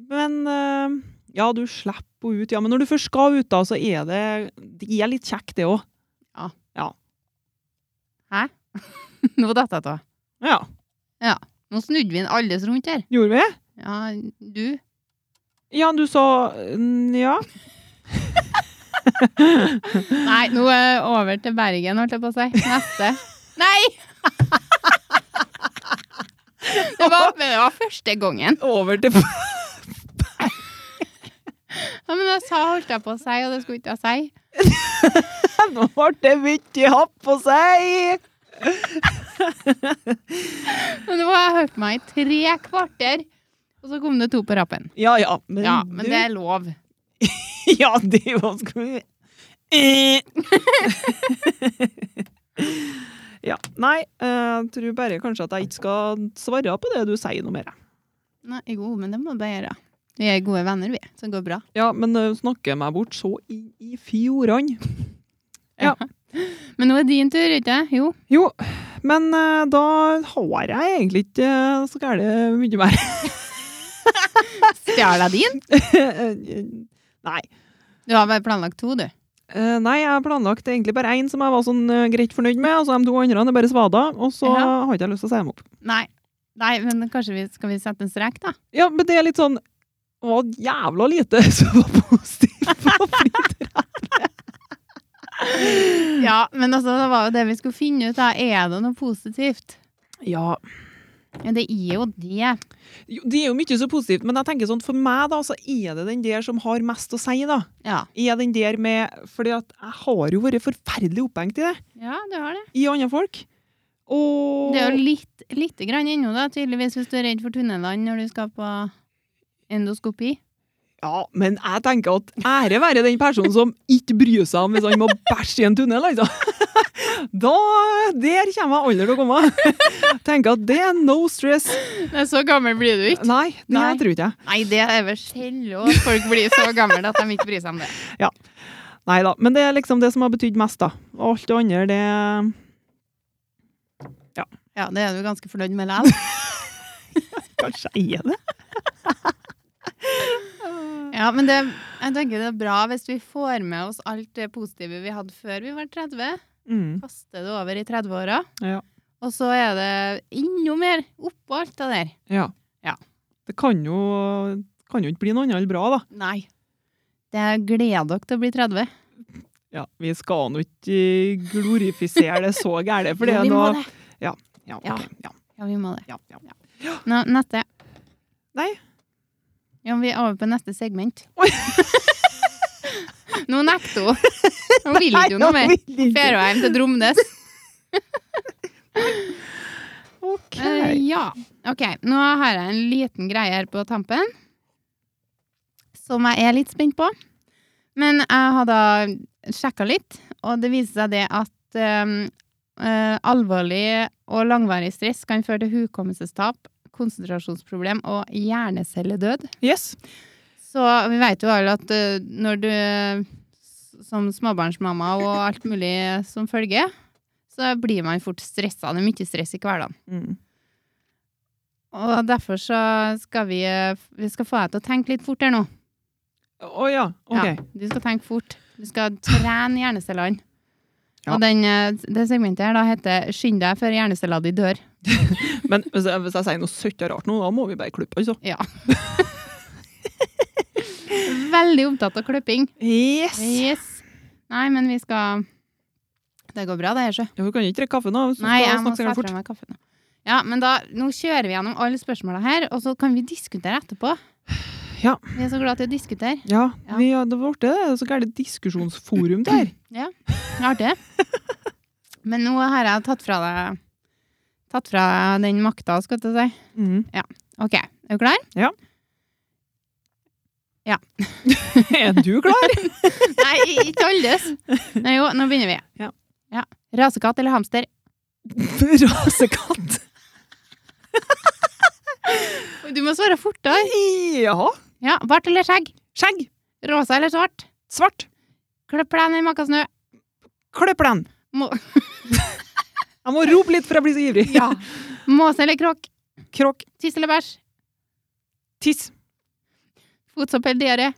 Speaker 2: men ehm, ja, du slipper henne ut. Ja, men når du først skal ut, da, så er det Det er litt kjekt, det òg.
Speaker 1: Nå datt jeg av.
Speaker 2: Ja.
Speaker 1: Nå snudde vi en alles rundt her.
Speaker 2: Gjorde vi det?
Speaker 1: Ja, du.
Speaker 2: Ja, du sa mm, Ja.
Speaker 1: Nei, nå er jeg over til Bergen, holdt jeg på å si. Neste. Nei! Det var, men det var første gangen.
Speaker 2: Over til
Speaker 1: Ja, men jeg sa holdt jeg på å si, og det skulle ikke jeg si.
Speaker 2: Nå ble det mye happ på seg!
Speaker 1: Men nå har jeg hørt meg i tre kvarter, og så kom det to på rappen.
Speaker 2: Ja ja. Men,
Speaker 1: Ja, men det er lov.
Speaker 2: du, ja, det var sku- Eh. Ja. Nei, jeg tror bare kanskje at jeg ikke skal svare på det du sier noe mer. jeg.
Speaker 1: Nei, jo, men det må du bare gjøre. Vi er gode venner, vi. Så det går bra.
Speaker 2: Ja, men uh, snakker meg bort så i, i fjordene.
Speaker 1: Men nå er din tur, ikke det? Jo.
Speaker 2: Jo, men eh, da har jeg egentlig ikke eh, så gærent mye mer.
Speaker 1: Stjal jeg din?
Speaker 2: nei.
Speaker 1: Du har bare planlagt to, du.
Speaker 2: Eh, nei, jeg har planlagt egentlig bare én som jeg var sånn eh, greit fornøyd med, og så de to andre er bare svada, og så
Speaker 1: Ja.
Speaker 2: har ikke jeg lyst til å si dem opp.
Speaker 1: Nei. Nei, men kanskje vi skal vi sette en strek, da?
Speaker 2: Ja, men det er litt sånn Hva jævla lite som var positivt på fritid.
Speaker 1: Ja, men altså, det var jo det vi skulle finne ut, da. Er det noe positivt?
Speaker 2: Ja,
Speaker 1: Ja, det er jo det.
Speaker 2: jo, det er jo mye så positivt, men jeg tenker sånn, for meg da, så er det den der som har mest å si, da.
Speaker 1: Ja.
Speaker 2: Er den der med Fordi at jeg har jo vært forferdelig opphengt i det,
Speaker 1: Ja, du har det.
Speaker 2: i andre folk. Og
Speaker 1: Det er jo litt, lite grann ennå, da, tydeligvis, hvis du er redd for tunnelene når du skal på endoskopi.
Speaker 2: Ja, men jeg tenker at ære være den personen som ikke bryr seg om hvis han må bæsje i en tunnel, altså. Da, der kommer jeg aldri til å komme. Tenker at det er no stress.
Speaker 1: Nei, så gammel blir du ikke.
Speaker 2: Nei, det
Speaker 1: Nei.
Speaker 2: tror ikke jeg.
Speaker 1: Nei, det er vel sjelden at folk blir så gamle at de ikke bryr seg om det.
Speaker 2: Nei da. Men det er liksom det som har betydd mest, da. Og alt det andre, det
Speaker 1: Ja, det er du ganske fornøyd med likevel.
Speaker 2: Kanskje jeg er det?
Speaker 1: Ja, men det, jeg tenker det er bra hvis vi får med oss alt det positive vi hadde før vi var 30.
Speaker 2: Mm.
Speaker 1: Kaster det over i 30-åra.
Speaker 2: Ja.
Speaker 1: Og så er det enda mer oppå alt det der.
Speaker 2: ja.
Speaker 1: Ja.
Speaker 2: Det kan jo, kan jo ikke bli noe annet enn bra, da.
Speaker 1: Nei. Det gleder dere til å bli 30.
Speaker 2: Ja, Vi skal nå ikke eh, glorifisere det så gærent, for det
Speaker 1: Jo,
Speaker 2: er
Speaker 1: vi må
Speaker 2: noe
Speaker 1: det.
Speaker 2: Ja,
Speaker 1: Ja.
Speaker 2: ok, ja,
Speaker 1: Ja, vi må det.
Speaker 2: ja, ja.
Speaker 1: Nå, neste.
Speaker 2: Nei.
Speaker 1: Ja, vi er over på neste segment.
Speaker 2: Oi.
Speaker 1: Nå nekter hun. Hun vil ikke noe mer. Ferøheim til Dromnes.
Speaker 2: Ok.
Speaker 1: Eh, ja. Ok, nå har jeg en liten greie her på tampen. Som jeg er litt spent på. Men jeg har da sjekka litt, og det viser seg det at eh, eh, alvorlig og langvarig stress kan føre til hukommelsestap, konsentrasjonsproblem og hjernecelledød.
Speaker 2: Yes.
Speaker 1: Så vi vet jo alle at eh, når du s- som småbarnsmamma og alt mulig som følger, så blir man fort stressa. Det er mye stress i hverdagen.
Speaker 2: Mm.
Speaker 1: Og derfor så skal vi, eh, vi skal få deg til å tenke litt fort her nå.
Speaker 2: Å ja, ok.
Speaker 1: Ja, du skal tenke fort. Du skal trene hjernecellene.
Speaker 2: Ja.
Speaker 1: Og den, eh, det segmentet her da heter 'Skynd deg før hjernecella di dør'.
Speaker 2: Men hvis jeg, hvis jeg sier noe søtt og rart nå, da må vi bare klippe, altså.
Speaker 1: Ja. Veldig opptatt av klipping.
Speaker 2: Yes!
Speaker 1: Yes. Nei, men vi skal Det går bra, det her, sjø.
Speaker 2: Ja, vi kan ikke drikke kaffe nå. hvis vi
Speaker 1: Nei,
Speaker 2: skal
Speaker 1: jeg må
Speaker 2: snakke så
Speaker 1: sette
Speaker 2: gærent
Speaker 1: fra meg kaffen. nå. Ja, men da, nå kjører vi gjennom alle spørsmålene her, og så kan vi diskutere etterpå.
Speaker 2: Ja.
Speaker 1: Vi er så glad til å diskutere.
Speaker 2: Ja,
Speaker 1: Ja.
Speaker 2: Vi, ja det ble det. Det er så gærent diskusjonsforum der.
Speaker 1: Artig. Men nå har jeg tatt fra deg Tatt fra deg den makta, skal jeg til å si.
Speaker 2: Mm.
Speaker 1: OK, er du klar?
Speaker 2: Er du klar?
Speaker 1: Nei, ikke alles. Nei, jo, nå begynner vi.
Speaker 2: Ja.
Speaker 1: ja. Rasekatt eller hamster?
Speaker 2: Rasekatt.
Speaker 1: Du må svare fortere.
Speaker 2: Ja.
Speaker 1: Ja, Bart eller skjegg?
Speaker 2: Skjegg.
Speaker 1: Rosa eller svart?
Speaker 2: Svart.
Speaker 1: Kløppelen i makka snø?
Speaker 2: Klipp den.
Speaker 1: Må-
Speaker 2: Jeg må rope litt, for jeg blir så ivrig.
Speaker 1: Måse eller kråk?
Speaker 2: Kråk.
Speaker 1: Tiss eller bæsj?
Speaker 2: Tiss.
Speaker 1: Fotsopp eller diaré?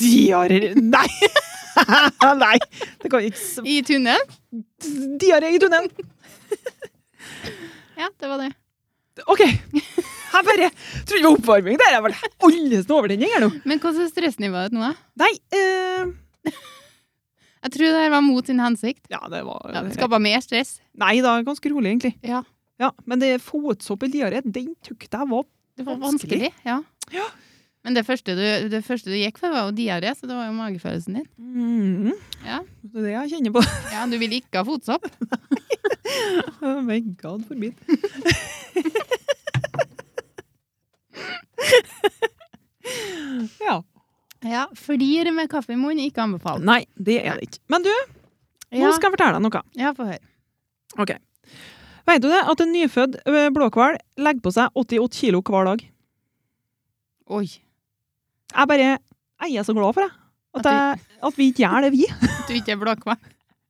Speaker 2: Diaré Nei! Nei, det kan ikke s-
Speaker 1: I tunnel?
Speaker 2: Diaré i tunnelen.
Speaker 1: Ja, det var det.
Speaker 2: OK. Jeg bare trodde det var oppvarming. Der er vel alles noe overtenning her nå.
Speaker 1: Men hvordan er stressnivået nå? da?
Speaker 2: Nei eh,
Speaker 1: Jeg tror det her var mot sin hensikt.
Speaker 2: Ja, det var
Speaker 1: Ja, det Skapa mer stress.
Speaker 2: Nei da, ganske rolig, egentlig.
Speaker 1: Ja.
Speaker 2: Ja, Men det fotsopp eller diaré, den tykte jeg var
Speaker 1: Det var vanskelig. Ja.
Speaker 2: Ja.
Speaker 1: Men det første, du, det første du gikk for, var jo diaré, så det var jo magefølelsen din.
Speaker 2: mm,
Speaker 1: Ja.
Speaker 2: Det er det jeg kjenner på.
Speaker 1: Ja, Du ville ikke ha fotsopp.
Speaker 2: Oh my god forbid. ja.
Speaker 1: Ja, Flir med kaffe i munnen, ikke anbefalt.
Speaker 2: Nei, det er det ikke. Men du, nå
Speaker 1: Ja,
Speaker 2: skal jeg fortelle deg noe.
Speaker 1: ja få høre.
Speaker 2: Vet du det at en nyfødt ø, blåhval legger på seg 88 kilo hver dag?
Speaker 1: Oi.
Speaker 2: Jeg bare jeg er så glad for det. At,
Speaker 1: At
Speaker 2: jeg, at vi ikke gjør det, vi.
Speaker 1: Du ikke er blåkva.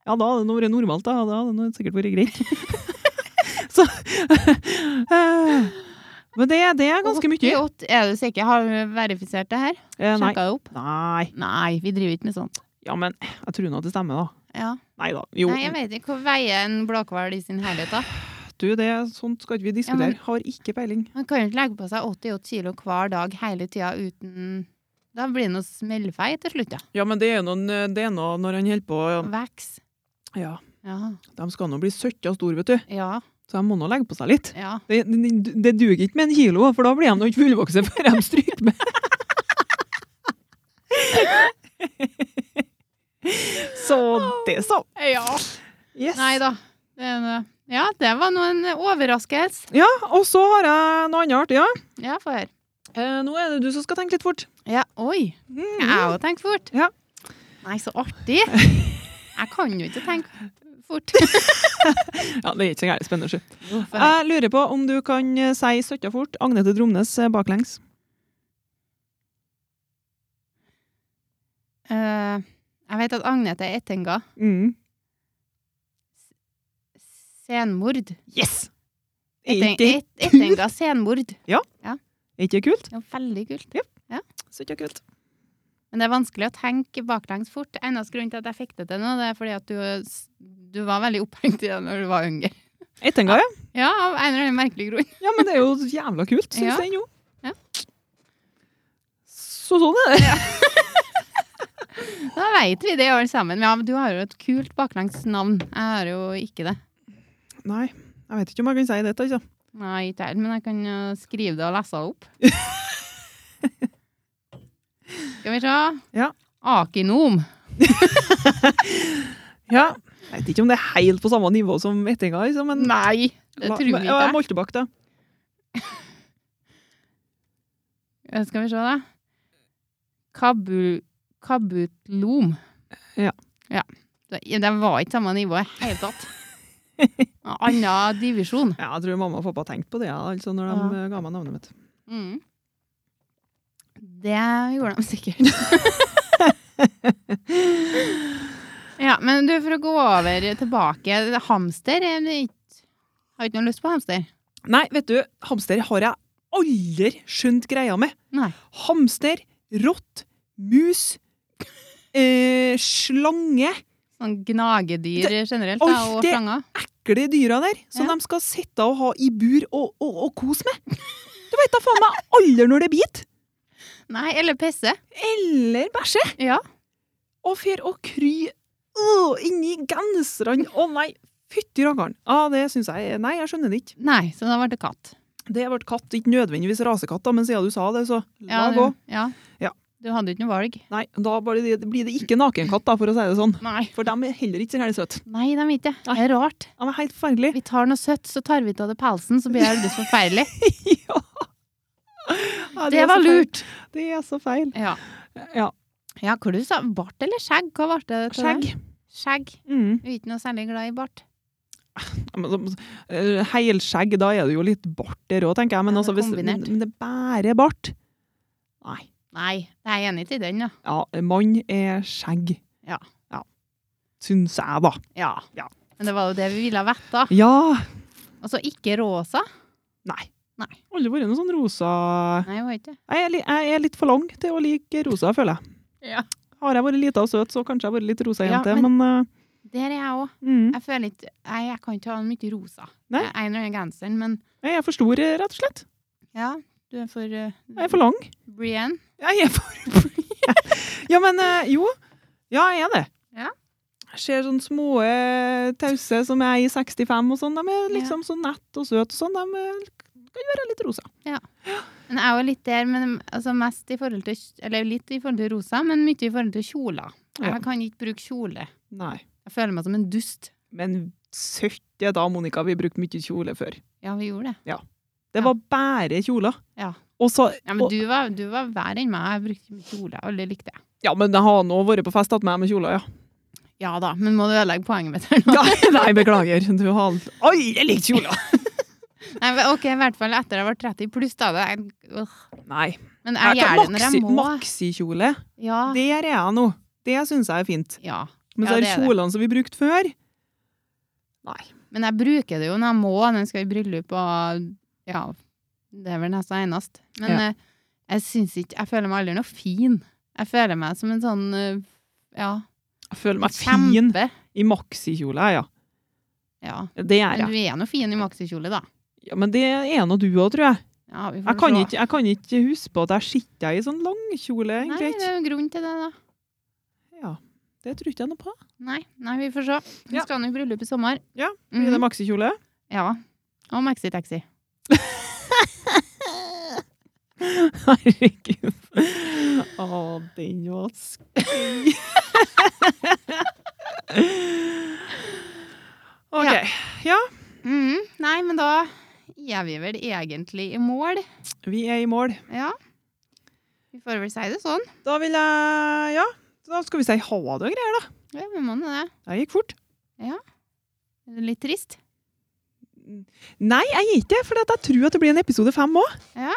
Speaker 2: Ja, da hadde det vært normalt, da. Da hadde det sikkert vært greit. så eh, Men det, det er ganske mye.
Speaker 1: 88, Er du sikker? Har du verifisert det her?
Speaker 2: Eh, nei.
Speaker 1: Sjekka det opp?
Speaker 2: nei.
Speaker 1: Nei, vi driver ikke med sånt.
Speaker 2: Ja, men jeg tror nå at det stemmer, da.
Speaker 1: Ja.
Speaker 2: Nei da. Jo,
Speaker 1: Nei, jeg vet ikke hva veier en blåkval i sin herlighet, da.
Speaker 2: du, det sånt skal ikke vi
Speaker 1: Ja, men-
Speaker 2: diskutere. Har ikke peiling.
Speaker 1: Man kan jo ikke legge på seg 88 kilo hver dag hele tida uten Da blir det noe smellfei til slutt, ja.
Speaker 2: Ja, men det er noen, eh, det er noe når han holder på
Speaker 1: Veks.
Speaker 2: Ja,
Speaker 1: Ja.
Speaker 2: de skal nå bli søkka store, vet du.
Speaker 1: Ja.
Speaker 2: Så de må nå legge på seg litt.
Speaker 1: Ja.
Speaker 2: Det, det, det duger ikke med en kilo, for da blir de nå ikke fullvokse før de stryker med. så det, så. Yes.
Speaker 1: Nei da. Det er noe- Ja, det var nå en overraskelse.
Speaker 2: Ja, og så har jeg noe annet artig, ja.
Speaker 1: Ja, få høre.
Speaker 2: Eh, nå er det du som skal tenke litt fort.
Speaker 1: Ja, oi.
Speaker 2: Mm.
Speaker 1: Jeg òg tenker fort.
Speaker 2: Ja.
Speaker 1: Nei, så artig. Jeg kan jo ikke tenke fort.
Speaker 2: Ja, det er ikke så gærent spennende. sjø.
Speaker 1: Hvorfor?
Speaker 2: Jeg lurer på om du kan eh, si søkka fort Agnete Dromnes eh, baklengs.
Speaker 1: Eh, jeg vet at Agnete Ettenga
Speaker 2: Mm.
Speaker 1: senmord.
Speaker 2: Yes! Er
Speaker 1: Etten-
Speaker 2: ikke-
Speaker 1: Et- Ettenga senmord.
Speaker 2: er ikke det kult?
Speaker 1: Det var veldig kult.
Speaker 2: Søkka kult.
Speaker 1: Men det er vanskelig å tenke baklengs fort. Eneste grunn til at jeg fikk det til nå, det er fordi at du, du var veldig opphengt i det når du var yngre.
Speaker 2: Ettenga, ja.
Speaker 1: Ja, av en eller annen merkelig grunn.
Speaker 2: Ja, men det er jo jævla kult, syns
Speaker 1: Ja.
Speaker 2: jeg jo.
Speaker 1: Ja.
Speaker 2: Så sånn er det.
Speaker 1: Da veit vi det alle sammen. Ja, men du har jo et kult baklengs navn. Jeg har jo ikke det.
Speaker 2: Nei, jeg vet ikke om jeg kan si dette, altså.
Speaker 1: Nei, ikke helt, men jeg kan jo skrive det og lese det opp. Skal vi se.
Speaker 2: Ja.
Speaker 1: Akinom.
Speaker 2: Ja. Jeg vet ikke om det er helt på samme nivå som ettinga, altså, men
Speaker 1: Nei, det
Speaker 2: Ma-
Speaker 1: tror vi
Speaker 2: ma-
Speaker 1: ikke.
Speaker 2: ja, Moltebakk, da.
Speaker 1: Eh, Skal vi se, da. Kabu, kabutlom.
Speaker 2: Ja.
Speaker 1: ja. Det, det var ikke samme nivå i det hele tatt. Anna divisjon.
Speaker 2: Ja, jeg tror mamma og pappa tenkte på det ja, altså, når de eh, ga meg navnet mitt.
Speaker 1: Mm. Det gjorde de sikkert. ja, men du, for å gå over tilbake Hamster er det ikke Har ikke noe lyst på hamster?
Speaker 2: Nei, vet du, hamster har jeg aldri skjønt greia med.
Speaker 1: Nei.
Speaker 2: Hamster, rått, mus, eh, slange,
Speaker 1: Sånn gnagedyr generelt,
Speaker 2: Oi,
Speaker 1: da, og
Speaker 2: det-
Speaker 1: slanger.
Speaker 2: ekle dyra der, som
Speaker 1: Ja.
Speaker 2: de skal sitte og ha i bur og, og, og kose med. Du vet da faen meg aldri når det biter.
Speaker 1: Nei, eller pisse.
Speaker 2: Eller bæsje.
Speaker 1: Ja.
Speaker 2: Og fer og kry øh, inni genserne. Å nei, fytti rakkeren. Ja, det syns jeg Nei, jeg skjønner det ikke.
Speaker 1: Nei, så da ble det katt.
Speaker 2: Det ble katt, ikke nødvendigvis rasekatt, da, men siden du sa det, så la
Speaker 1: Ja,
Speaker 2: gå.
Speaker 1: du, ja.
Speaker 2: Ja.
Speaker 1: du hadde ikke noe valg.
Speaker 2: Nei, da bare, det- blir det ikke nakenkatt, da, for å si det sånn.
Speaker 1: Nei.
Speaker 2: For de er heller ikke så gærent søte.
Speaker 1: Nei, de vet det. Det er rart.
Speaker 2: De er helt forferdelige.
Speaker 1: Vi tar noe søtt, så tar vi ut av det pelsen, så blir det aldeles forferdelig.
Speaker 2: ja. Ja,
Speaker 1: Det
Speaker 2: er
Speaker 1: var
Speaker 2: så feil.
Speaker 1: lurt.
Speaker 2: Det er så feil.
Speaker 1: Ja.
Speaker 2: Ja.
Speaker 1: ja, hva du sa? Bart eller skjegg? Hva ble det? til det?
Speaker 2: Skjegg.
Speaker 1: Skjegg.
Speaker 2: Mm.
Speaker 1: Du er ikke noe særlig glad i bart.
Speaker 2: Ja, men så- eh, Heilskjegg, da er det jo litt bart der òg, tenker jeg. Men,
Speaker 1: Ja, det
Speaker 2: altså,
Speaker 1: er
Speaker 2: hvis, men
Speaker 1: kombinert.
Speaker 2: men det er bare bart. Nei.
Speaker 1: Nei, jeg er enig i den, ja.
Speaker 2: Ja, mann er skjegg.
Speaker 1: Ja.
Speaker 2: ja. Syns jeg, da.
Speaker 1: ja.
Speaker 2: Ja.
Speaker 1: Men det var jo det vi ville vite, da.
Speaker 2: Ja.
Speaker 1: Og så ikke rosa.
Speaker 2: Nei.
Speaker 1: Nei.
Speaker 2: Aldri vært noe sånn rosa
Speaker 1: Nei, hun er ikke det.
Speaker 2: jeg er, li jeg er litt for lang til å like rosa, føler jeg.
Speaker 1: Ja.
Speaker 2: Har jeg vært lita og søt, så kanskje jeg har vært litt rosa
Speaker 1: Ja,
Speaker 2: jente, men,
Speaker 1: Der er jeg òg.
Speaker 2: eh, mm.
Speaker 1: Jeg føler ikke Nei, jeg kan ikke ha mye rosa.
Speaker 2: Nei.
Speaker 1: Jeg er under genseren, men
Speaker 2: Nei, jeg er for stor, eh, rett og slett.
Speaker 1: ja, du er for uh,
Speaker 2: Jeg er for lang.
Speaker 1: Brienne.
Speaker 2: Jeg er for Ja, men eh, jo. Ja, jeg er det.
Speaker 1: Ja.
Speaker 2: Jeg ser sånne små eh, tause som er i 65 og sånn. De er
Speaker 1: Ja.
Speaker 2: liksom så nett og søte og sånn. De eh, kan være litt rosa.
Speaker 1: Men jeg er jo litt der, men altså mest i forhold til Eller litt i forhold til rosa, men mye i forhold til kjoler. Jeg
Speaker 2: Ja.
Speaker 1: kan ikke bruke kjole.
Speaker 2: Nei.
Speaker 1: Jeg føler meg som en dust.
Speaker 2: Men søtte da, Monica, vi brukte mye kjole før.
Speaker 1: Ja, vi gjorde det. Ja.
Speaker 2: Det var bare kjoler.
Speaker 1: Ja.
Speaker 2: Og så,
Speaker 1: Ja, men
Speaker 2: og,
Speaker 1: du var, du var verre enn meg. Jeg brukte mye kjole. Alle likte det.
Speaker 2: ja, men jeg har nå vært på fest hatt med meg med kjoler, ja.
Speaker 1: Ja da, men må du ødelegge poenget mitt her nå?
Speaker 2: Nei, nei, beklager. Du har aldri likt kjoler.
Speaker 1: Nei, men ok, i hvert fall etter jeg var 30 pluss, da. Det er, øh,
Speaker 2: Nei.
Speaker 1: Men jeg
Speaker 2: Jeg
Speaker 1: gjør det når jeg
Speaker 2: maxi-
Speaker 1: må. Ah.
Speaker 2: Maxikjole.
Speaker 1: Ja.
Speaker 2: Der er jeg nå. Det syns jeg er fint.
Speaker 1: ja.
Speaker 2: Men
Speaker 1: Ja,
Speaker 2: så er
Speaker 1: det er det.
Speaker 2: kjolene som vi brukte før Nei.
Speaker 1: Men jeg bruker det jo når jeg må, når jeg skal i bryllup og Ja, det er vel nesten eneste. Men
Speaker 2: Ja.
Speaker 1: eh, jeg syns ikke Jeg føler meg aldri noe fin. Jeg føler meg som en sånn eh, Ja,
Speaker 2: Jeg føler meg fin
Speaker 1: kjempe.
Speaker 2: i maxikjole, ja.
Speaker 1: Ja.
Speaker 2: Det er
Speaker 1: Men
Speaker 2: jeg.
Speaker 1: du er nå fin i maxikjole, da.
Speaker 2: Ja, men det er nå du òg, tror jeg.
Speaker 1: Ja, vi får
Speaker 2: Jeg kan,
Speaker 1: se.
Speaker 2: ikke, jeg kan ikke huske på at jeg sitter i sånn langkjole, egentlig.
Speaker 1: Nei, det er jo grunn til det, da.
Speaker 2: Ja, det tror ikke jeg noe på.
Speaker 1: Nei, nei vi får se. Vi
Speaker 2: Ja.
Speaker 1: skal nå i bryllup i sommer.
Speaker 2: Ja, Blir det
Speaker 1: Mhm.
Speaker 2: maxikjole?
Speaker 1: Ja. Og maxitaxi.
Speaker 2: Herregud. Å, den var skøy. OK.
Speaker 1: Ja.
Speaker 2: Ja.
Speaker 1: Mhm. Nei, men da er vi vel egentlig i mål.
Speaker 2: vi er i mål.
Speaker 1: Ja. Vi får vel si det sånn.
Speaker 2: Da vil jeg Ja, da skal vi si ha det og greier, da.
Speaker 1: Ja, vi må nå det.
Speaker 2: Det gikk fort.
Speaker 1: Er det Litt trist.
Speaker 2: Nei, jeg gir ikke, for jeg tror at det blir en episode fem òg.
Speaker 1: Ja.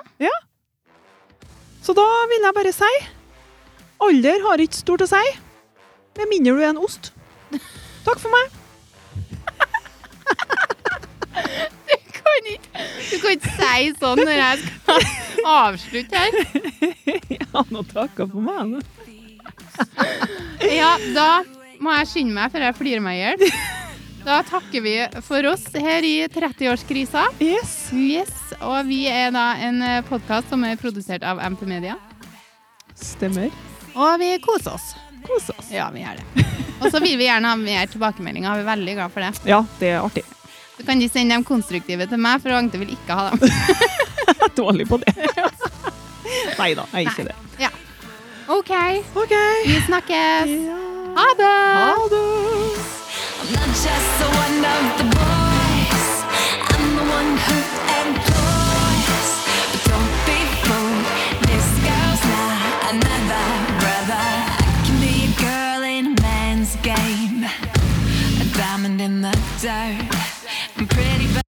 Speaker 2: Så da vil jeg bare si alder har ikke stort å si, med mindre du er en ost. Takk for meg.
Speaker 1: kan ikke, du kan ikke si sånn når jeg skal avslutte her.
Speaker 2: Ja, nå takker jeg for meg. nå.
Speaker 1: Ja, da må jeg skynde meg før jeg flirer meg i hjel. Da takker vi for oss her i 30-årskrisa.
Speaker 2: Yes.
Speaker 1: Yes, og vi er da en podkast som er produsert av MP Media.
Speaker 2: Stemmer.
Speaker 1: Og vi koser oss.
Speaker 2: Kos oss.
Speaker 1: Ja, vi gjør det. Og så vil vi gjerne ha mer tilbakemeldinger. Vi er veldig glad for det.
Speaker 2: Ja, det er artig.
Speaker 1: Så kan de sende dem konstruktive til meg, for Agnete vil ikke ha dem.
Speaker 2: Jeg er dårlig på det. Nei da, jeg er ikke det.
Speaker 1: Ja. OK,
Speaker 2: OK.
Speaker 1: vi snakkes.
Speaker 2: Ja.
Speaker 1: Ha det!
Speaker 2: Ha det.
Speaker 3: I'm not just the one of the boys. I'm the one who employs. But don't be fooled. This girl's not another brother. I can be a girl in a man's game. A diamond in the dirt. I'm pretty. but